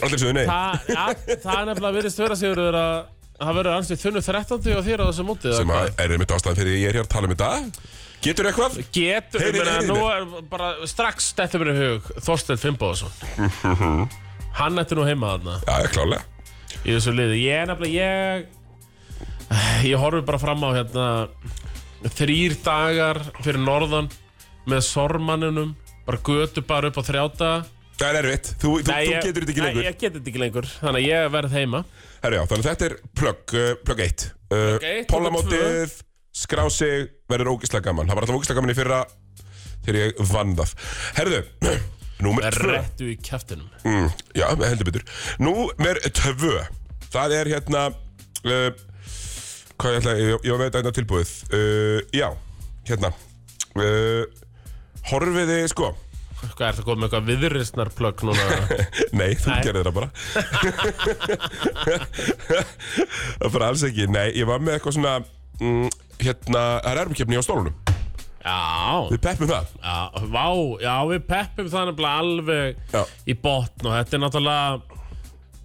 allir sögðu nei
Þa, að, það er nefnilega verið störa Sigurður að það verður ansið þunnu 13. og þér á þessu móti eða
sem
hvað?
að er einmitt ástæðan fyrir því ég er hér að tala um þetta Getur eitthvað?
Getur,
Heyrið,
ég meina,
heyrið
nú er bara strax þetta mér í hug Þorstein Fimboðsson Hann ætti nú heima þarna
Já, klálega
í þessu liði Ég er nefnilega, ég ég horfi bara fram á hérna þrýr dagar fyrir norðan með sormanninum bara götu bara upp á þrjáta
Það er erfitt, þú, þú, þú getur þetta ekki lengur
Nei, ég getur þetta ekki lengur Þannig að ég verð heima
Herra, já, Þannig að þetta er plug, uh, plug 1 uh,
eitt, plugg
Pólamótið, skrá sig, verður ógislega gaman Það var alltaf ógislega gaman í fyrra þegar ég vann það Herðu, númer 2
Réttu í kæftinum
mm, Já, heldur betur Númer 2 Það er hérna uh, Hvað ég ætla Ég, ég veit að hérna tilbúið uh, Já, hérna uh, Horfiði, sko
Hvað er það komið með eitthvað viðrisnarplögg núna?
Nei, þú
Nei.
gerðir það bara Það er bara alls ekki Nei, ég var með eitthvað svona mm, Hérna, það er erfumkeppni á stólunum
já,
Við peppum það
já, vá, já, við peppum það nefnilega alveg
Já.
í botn og þetta er náttúrulega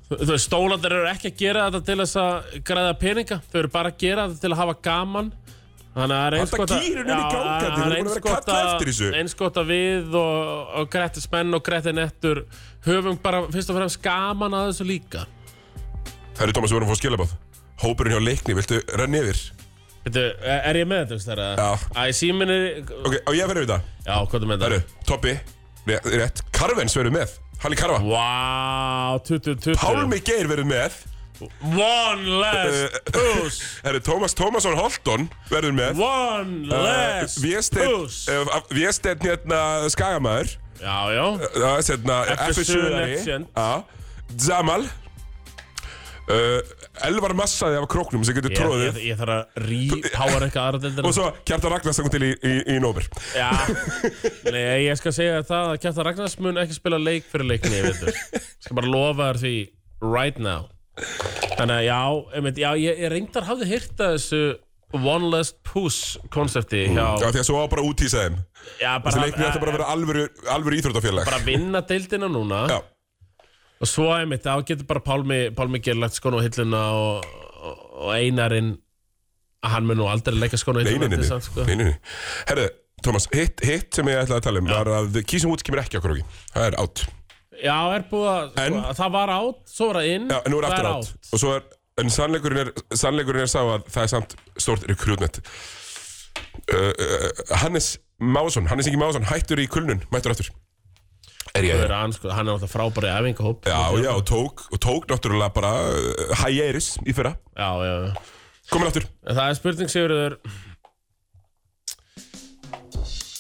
Þú þú veist, stólandar eru ekki að gera þetta til þess að græða peninga, þau eru bara að gera þetta til að hafa gaman Þannig að það er eins
Alltaf
gott að-
gírun inn í
Já,
gangandi,
það er
við erum búin að
eins
vera að
gott
kalla
að-
eftir þessu.
Eins gott að við og, og Grettismenn og Grettinettur höfum bara fyrst og fremst gaman að þessu líka
Herri Tómas, við vorum að fá skilabáð Hópurinn hjá leikni, viltu renna yfir?
Veitu, er ég með þetta, þegar að
Já.
Æ, síminn er,
Ok, á ég að vera við það?
Já, hvað er með
Herru,
þetta?
Toppi, rétt, rétt Karvens verður með, Halli Karva
Vá, 20, 20
Pálmi Geir verður með
One less
Eh,
puss
Herru, Tómas Tómasson Holton verður með Uh,
One
Eh,
less puss
Viesteinn hérna Skagamæður
Já, já
Það er hérna
FSU
FSU-ari
legend.
Zamal uh, Elvar Massaði af króknum sem getur
Ég, ég,
tróðið
ég þarf að rípára eitthvað aðra deildina
Og svo Kjartan Ragnars kom til í, í, í Nóber
Já, nei, ég skal segja þér það að Kjartan Ragnars mun ekki spila leik fyrir leikni, ég veit þú Skal bara lofa þér því right now Þannig að já, einmitt, já ég, ég reyndar hafði hýrt að þessu One less puss koncepti
Já,
hjá
því að svo á bara að útýsa þeim
Já,
Mm. Þessi
bara,
leikni ætla bara að vera alvöru, alvöru íþróttafélag
bara vinna deildina núna
Já,
Og svo einmitt, þá getur bara Pálmi, Pálmi Gerlagt skonu á hilluna og, og, og Einarinn, hann mun nú aldrei leika skonu á hilluna
neyninni
til samt, sko.
Neyninni Herru, Tómas, hitt, hitt sem ég ætlaði að tala um var að kísum út kemur ekki á króki Það er átt
Já, er búið að, sko,
En-
að það var átt, svo var það inn,
Já, en nú er
það
aftur átt Og svo er, en sannleikurinn er, sannleikurinn er sá að það er samt stórt rekrútnett uh, uh, Hannes Másson, Hannes Ingi Másson, hættur í kulnun, mættur aftur Er ég
Það er hann, sko, hann er náttúrulega frábæri æfingahóp.
Já, já, og tók, og tók náttúrulega bara uh, Hægeiris í fyrra
já, já, já.
Komin aftur
En það er spurning, Sigurður,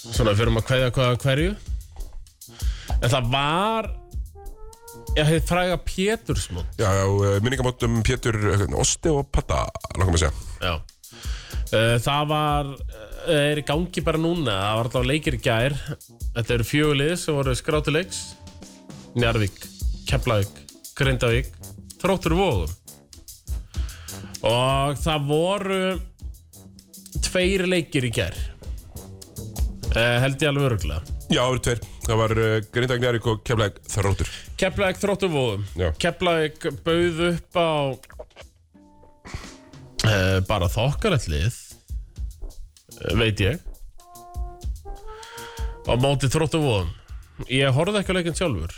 svona, við fyrir að kveðja hvað af hverju. En það var, ég hefði fræga Pétursmund.
Já, já, uh, minningamótum Pétur uh, Oste og Patta, langar mig að segja
Já Eh, Það var, eh, er í gangi bara núna, það var alltaf leikir í gær Þetta eru fjögulið sem voru skrátuleiks Njarvík, Keflavík, Grindavík, Þróttur Vóðum Og það voru tveir leikir í gær eh, Held ég alveg öruglega
Já, það eru tveir, það var uh, Grindag Njærik og Keflæk Þróttur
Keflavík þróttum vóðum
Já.
Keflavík bauð upp á uh, bara þokkalett lið uh, veit ég á móti þróttum vóðum ég horfði ekki á leikinn sjálfur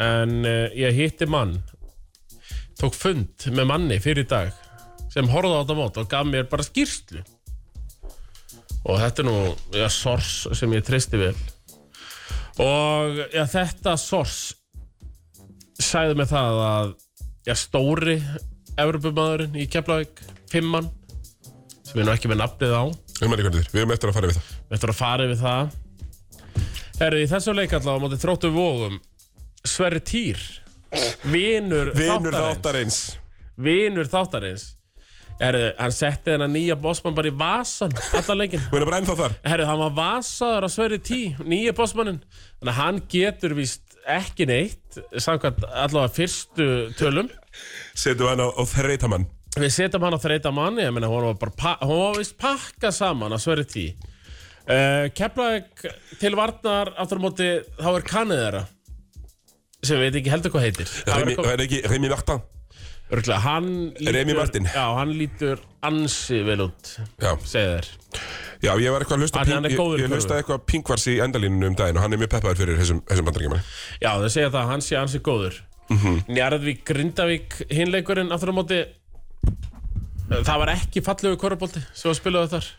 en uh, ég hitti mann tók fund með manni fyrir í dag sem horfði á þetta mót og gaf mér bara skýrslu og þetta er nú ja, sors sem ég treysti vel og ja, þetta sors sagði mig það að já, stóri Evropumadurinn í Keflavík, Fimman sem er nú ekki með nafnið á við
Við erum eftir að fara við það
ætlum að fara yfir það Herru, í þessum leik allavega á móti þróttu vógum Sverri Týr Vinur,
Vinur
þáttarins.
þáttarins
Vinur þáttarins Herru, hann setti þennan nýja bossmann bara í vasan allan leikinn
Við erum bara ennþá þar
Herru, hann var vasaður á Sverri Tí, nýja bossmannin. Þannig að hann getur víst ekki neitt, samkvæmt allavega fyrstu tölum.
Setum hann á, á þreitamann
Við setjum hann á þreita manni, ég meina, hún var bara, pa- hún var víst pakka saman á Sverri Tí. Uh, Keflavík til varnar, aftur á móti, þá er kannið þeirra. Sem við veit ekki heldur hvað heitir. Það var
Remi,
eitthvað-
er ekki Remi Martin?
Örugglega, hann lítur...
Remi Martin.
Já, hann lítur ansi vel út,
Já.
segir þér.
Já, ég var eitthvað að hlusta
Hann- hann er
Pink-
góður í
Ég, ég
körfu.
hlusta eitthvað Pinkvars í endalínunum um daginn og hann er mjög peppaður fyrir þessum, þessum bandaríkjumann
Já, þau segja það að hann sé ansi góður mm Njarðvík, Grindavík, hinleikurinn aftur á móti Það var ekki fallegu korrupolti sem var spilaðu þar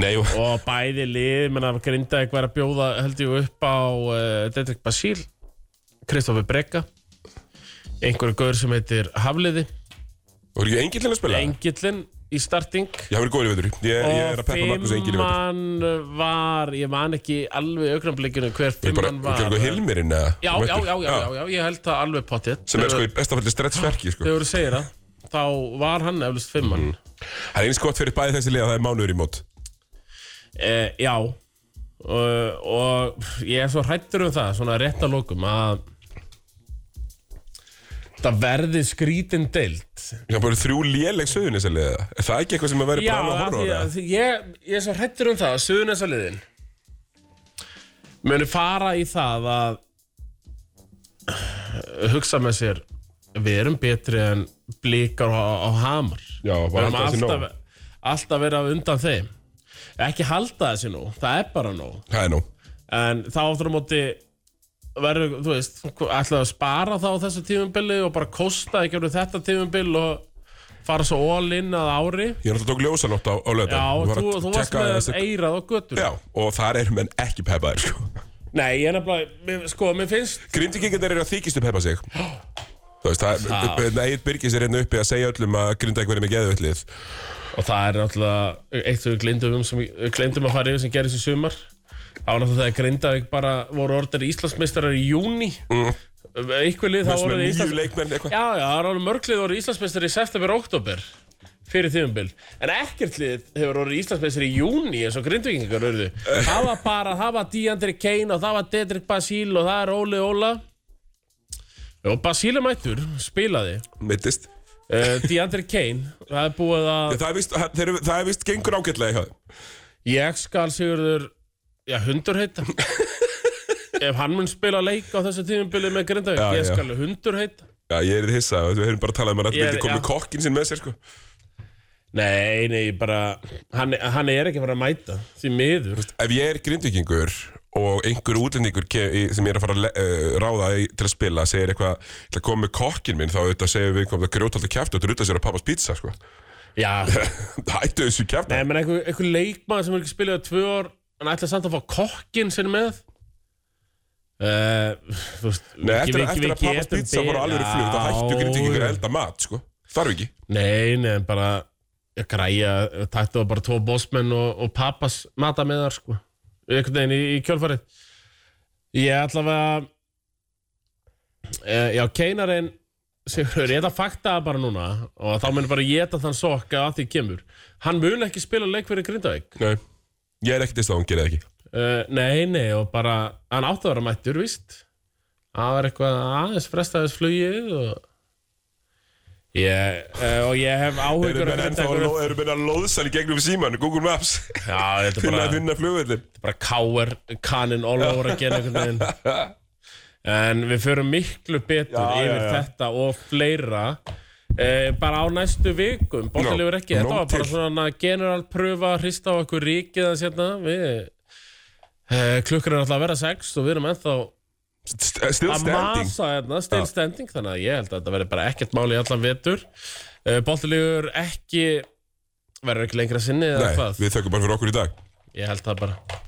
Nei, jú,
Og bæði lið, menna Grindavík var að bjóða held ég upp á uh, Dedrick Basíl, Kristoffer Brekka Einhverju gaur sem heitir Hafliði
voru ekki engillin að spila?
Engillinn í starting
Já, hann er góður í veitur ég, ég er
Og
að peppa Markus Engil í veitur
fimmann var, ég man ekki alveg augnablikinu hver
Ég er bara,
fimmann var
ekki eitthvað Hilmirinn eða
Já, já, já, já, já, já, ég held það alveg potið
Sem er sko í besta falli stretchverki, sko
Þegar þú segir það þá var hann eflust
Mhm.
fimmann.
Það er eins gott fyrir bæði þessi liða, það er mánuður í mót.
Eh, já uh, og ég er svo hrættur um það svona rétt að lokum að það verði skrítin deilt
Það er bara þrjú léleg söðun þessi liða. Er það ekki eitthvað sem að vera bara alveg að
af
horfa á
því
það?
að því- ég, ég er svo hrættur um það að suðunessaliðin munu fara í það að hugsa með sér við erum betri en blíkar á, á hamar
Já, bara
við erum
halda þessi
alltaf, alltaf verið að undan þeim ekki halda þessi nú, það er bara nóg
Það er nú.
En þá áttur á móti verður, þú veist, ætlaðu að spara þá á þessu tímumbili og bara kosta ekki verður þetta tímumbil og fara svo all in að ári.
Ég náttúrulega tók ljósanótt á, á löðan.
Já, þú, þú varst með eirað og göttur.
Já, og þar er menn ekki peppaðir, sko.
Nei, ég er nefnilega, mér- sko, mér finnst,
Grindvíkingar eru að þykist upp peppa sig. Þú veist, það er, Egil Birgis er hérna uppi að segja öllum að Grindavík verði með geðvöllið.
og það er náttúrulega eitt sem við glindum, um sem við glindum að fara yfir sem gerðist í sumar. Það var náttúrulega þegar Grindavík bara voru orðinir Íslandsmeistarar í júni. Mm. Eitthvað lið þá
Það
voru
er
þeir
nýju
Íslands...
leikmenn eitthvað.
Já, já, það er alveg mörglið voru Íslandsmeistari í september og oktober fyrir tíðumbil en ekkert lið hefur orðið Íslandsmeistari í júni eins og grindvikingar urðu það var bara, það var Díandri Kane og það var Dedrick Basíl og það er Óli Óla og Basíl er mættur spilaði
Mittist.
uh, Díandri Kane það er búið að
Það er víst- það þeir eru- það er vist gengur ágætlega í höfðum.
ég skal sigurður já, hundur heita ef hann mun spila leik á þessu tíðumbili með
Já,
grindavík, ég
já.
skal hundur heita
Já, ég er hissa, við höfum bara talað um að hann
Ég er-
vildi koma
já.
með kokkin sinn með sér, sko.
Nei, nei, bara hann, hann er ekki að fara að mæta því miður
Ef ég er grindvikingur og einhver útlendingur ke- í- sem ég er að fara að le- eh, ráða í- til að spila segir eitthvað, ég ætla að koma með kokkin minn þá auðvitað segir við komum það grjótaldi kjæft og drutta sér á pappas pizza, sko.
Já,
Hættu þessu kjæft.
nei, menn einhver, einhver leikmaður sem er ekki spilað í tvö ár hann ætla samt að fá kokkin sinni með uh, Þú veist
Nei,
við-
eftir,
við-
eftir að
við
pappas
getum
pizza
beðið-
bara alveg flug, þá hættu
Já,
grindvikingur
já.
að elda mat, sko. Þarf ekki.
Nei, nei, en bara ég græja, tættu það bara tvo bossmenn og, og pappas mata með þar sko einhvern veginn í, í kjölfarið Ég allavega e, Já, keinarinn Sigurður, ég ætla að fakta það bara núna og þá mun bara ég þetta þann sokka að því kemur Hann mun ekki spila leik fyrir Grindavík
Nei. Ég er ekkert þess að hún gerir það ekki.
uh, Nei, nei, og bara hann átti að vera mættur, víst Það var eitthvað aðeins frestaðis flugið og Ég, uh, og ég hef
Eru
áhugur
menn ennþá að ló- eru menn að lóðsan í gegnum síman, Google Maps,
Já, þetta er
finna
bara,
að finna flugvöldin.
bara káer kannin all over again einhvern veginn En við förum miklu betur
Já, já,
yfir
já.
þetta og fleira eh, bara á næstu vikum Bóttilegur ekki,
nóg
þetta var bara
til.
svona generalpröfa, hrista á okkur ríkið að sérna, við eh, klukkur er alltaf að vera sex og við erum ennþá
St- Still
að
standing.
masa hérna, still standing þannig að ég held að þetta verði bara ekkert máli í allan vetur eh, Bóttilegur ekki verður ekki lengra sinni eða
Nei,
hvað,
við þökkum bara fyrir okkur í dag.
ég held það bara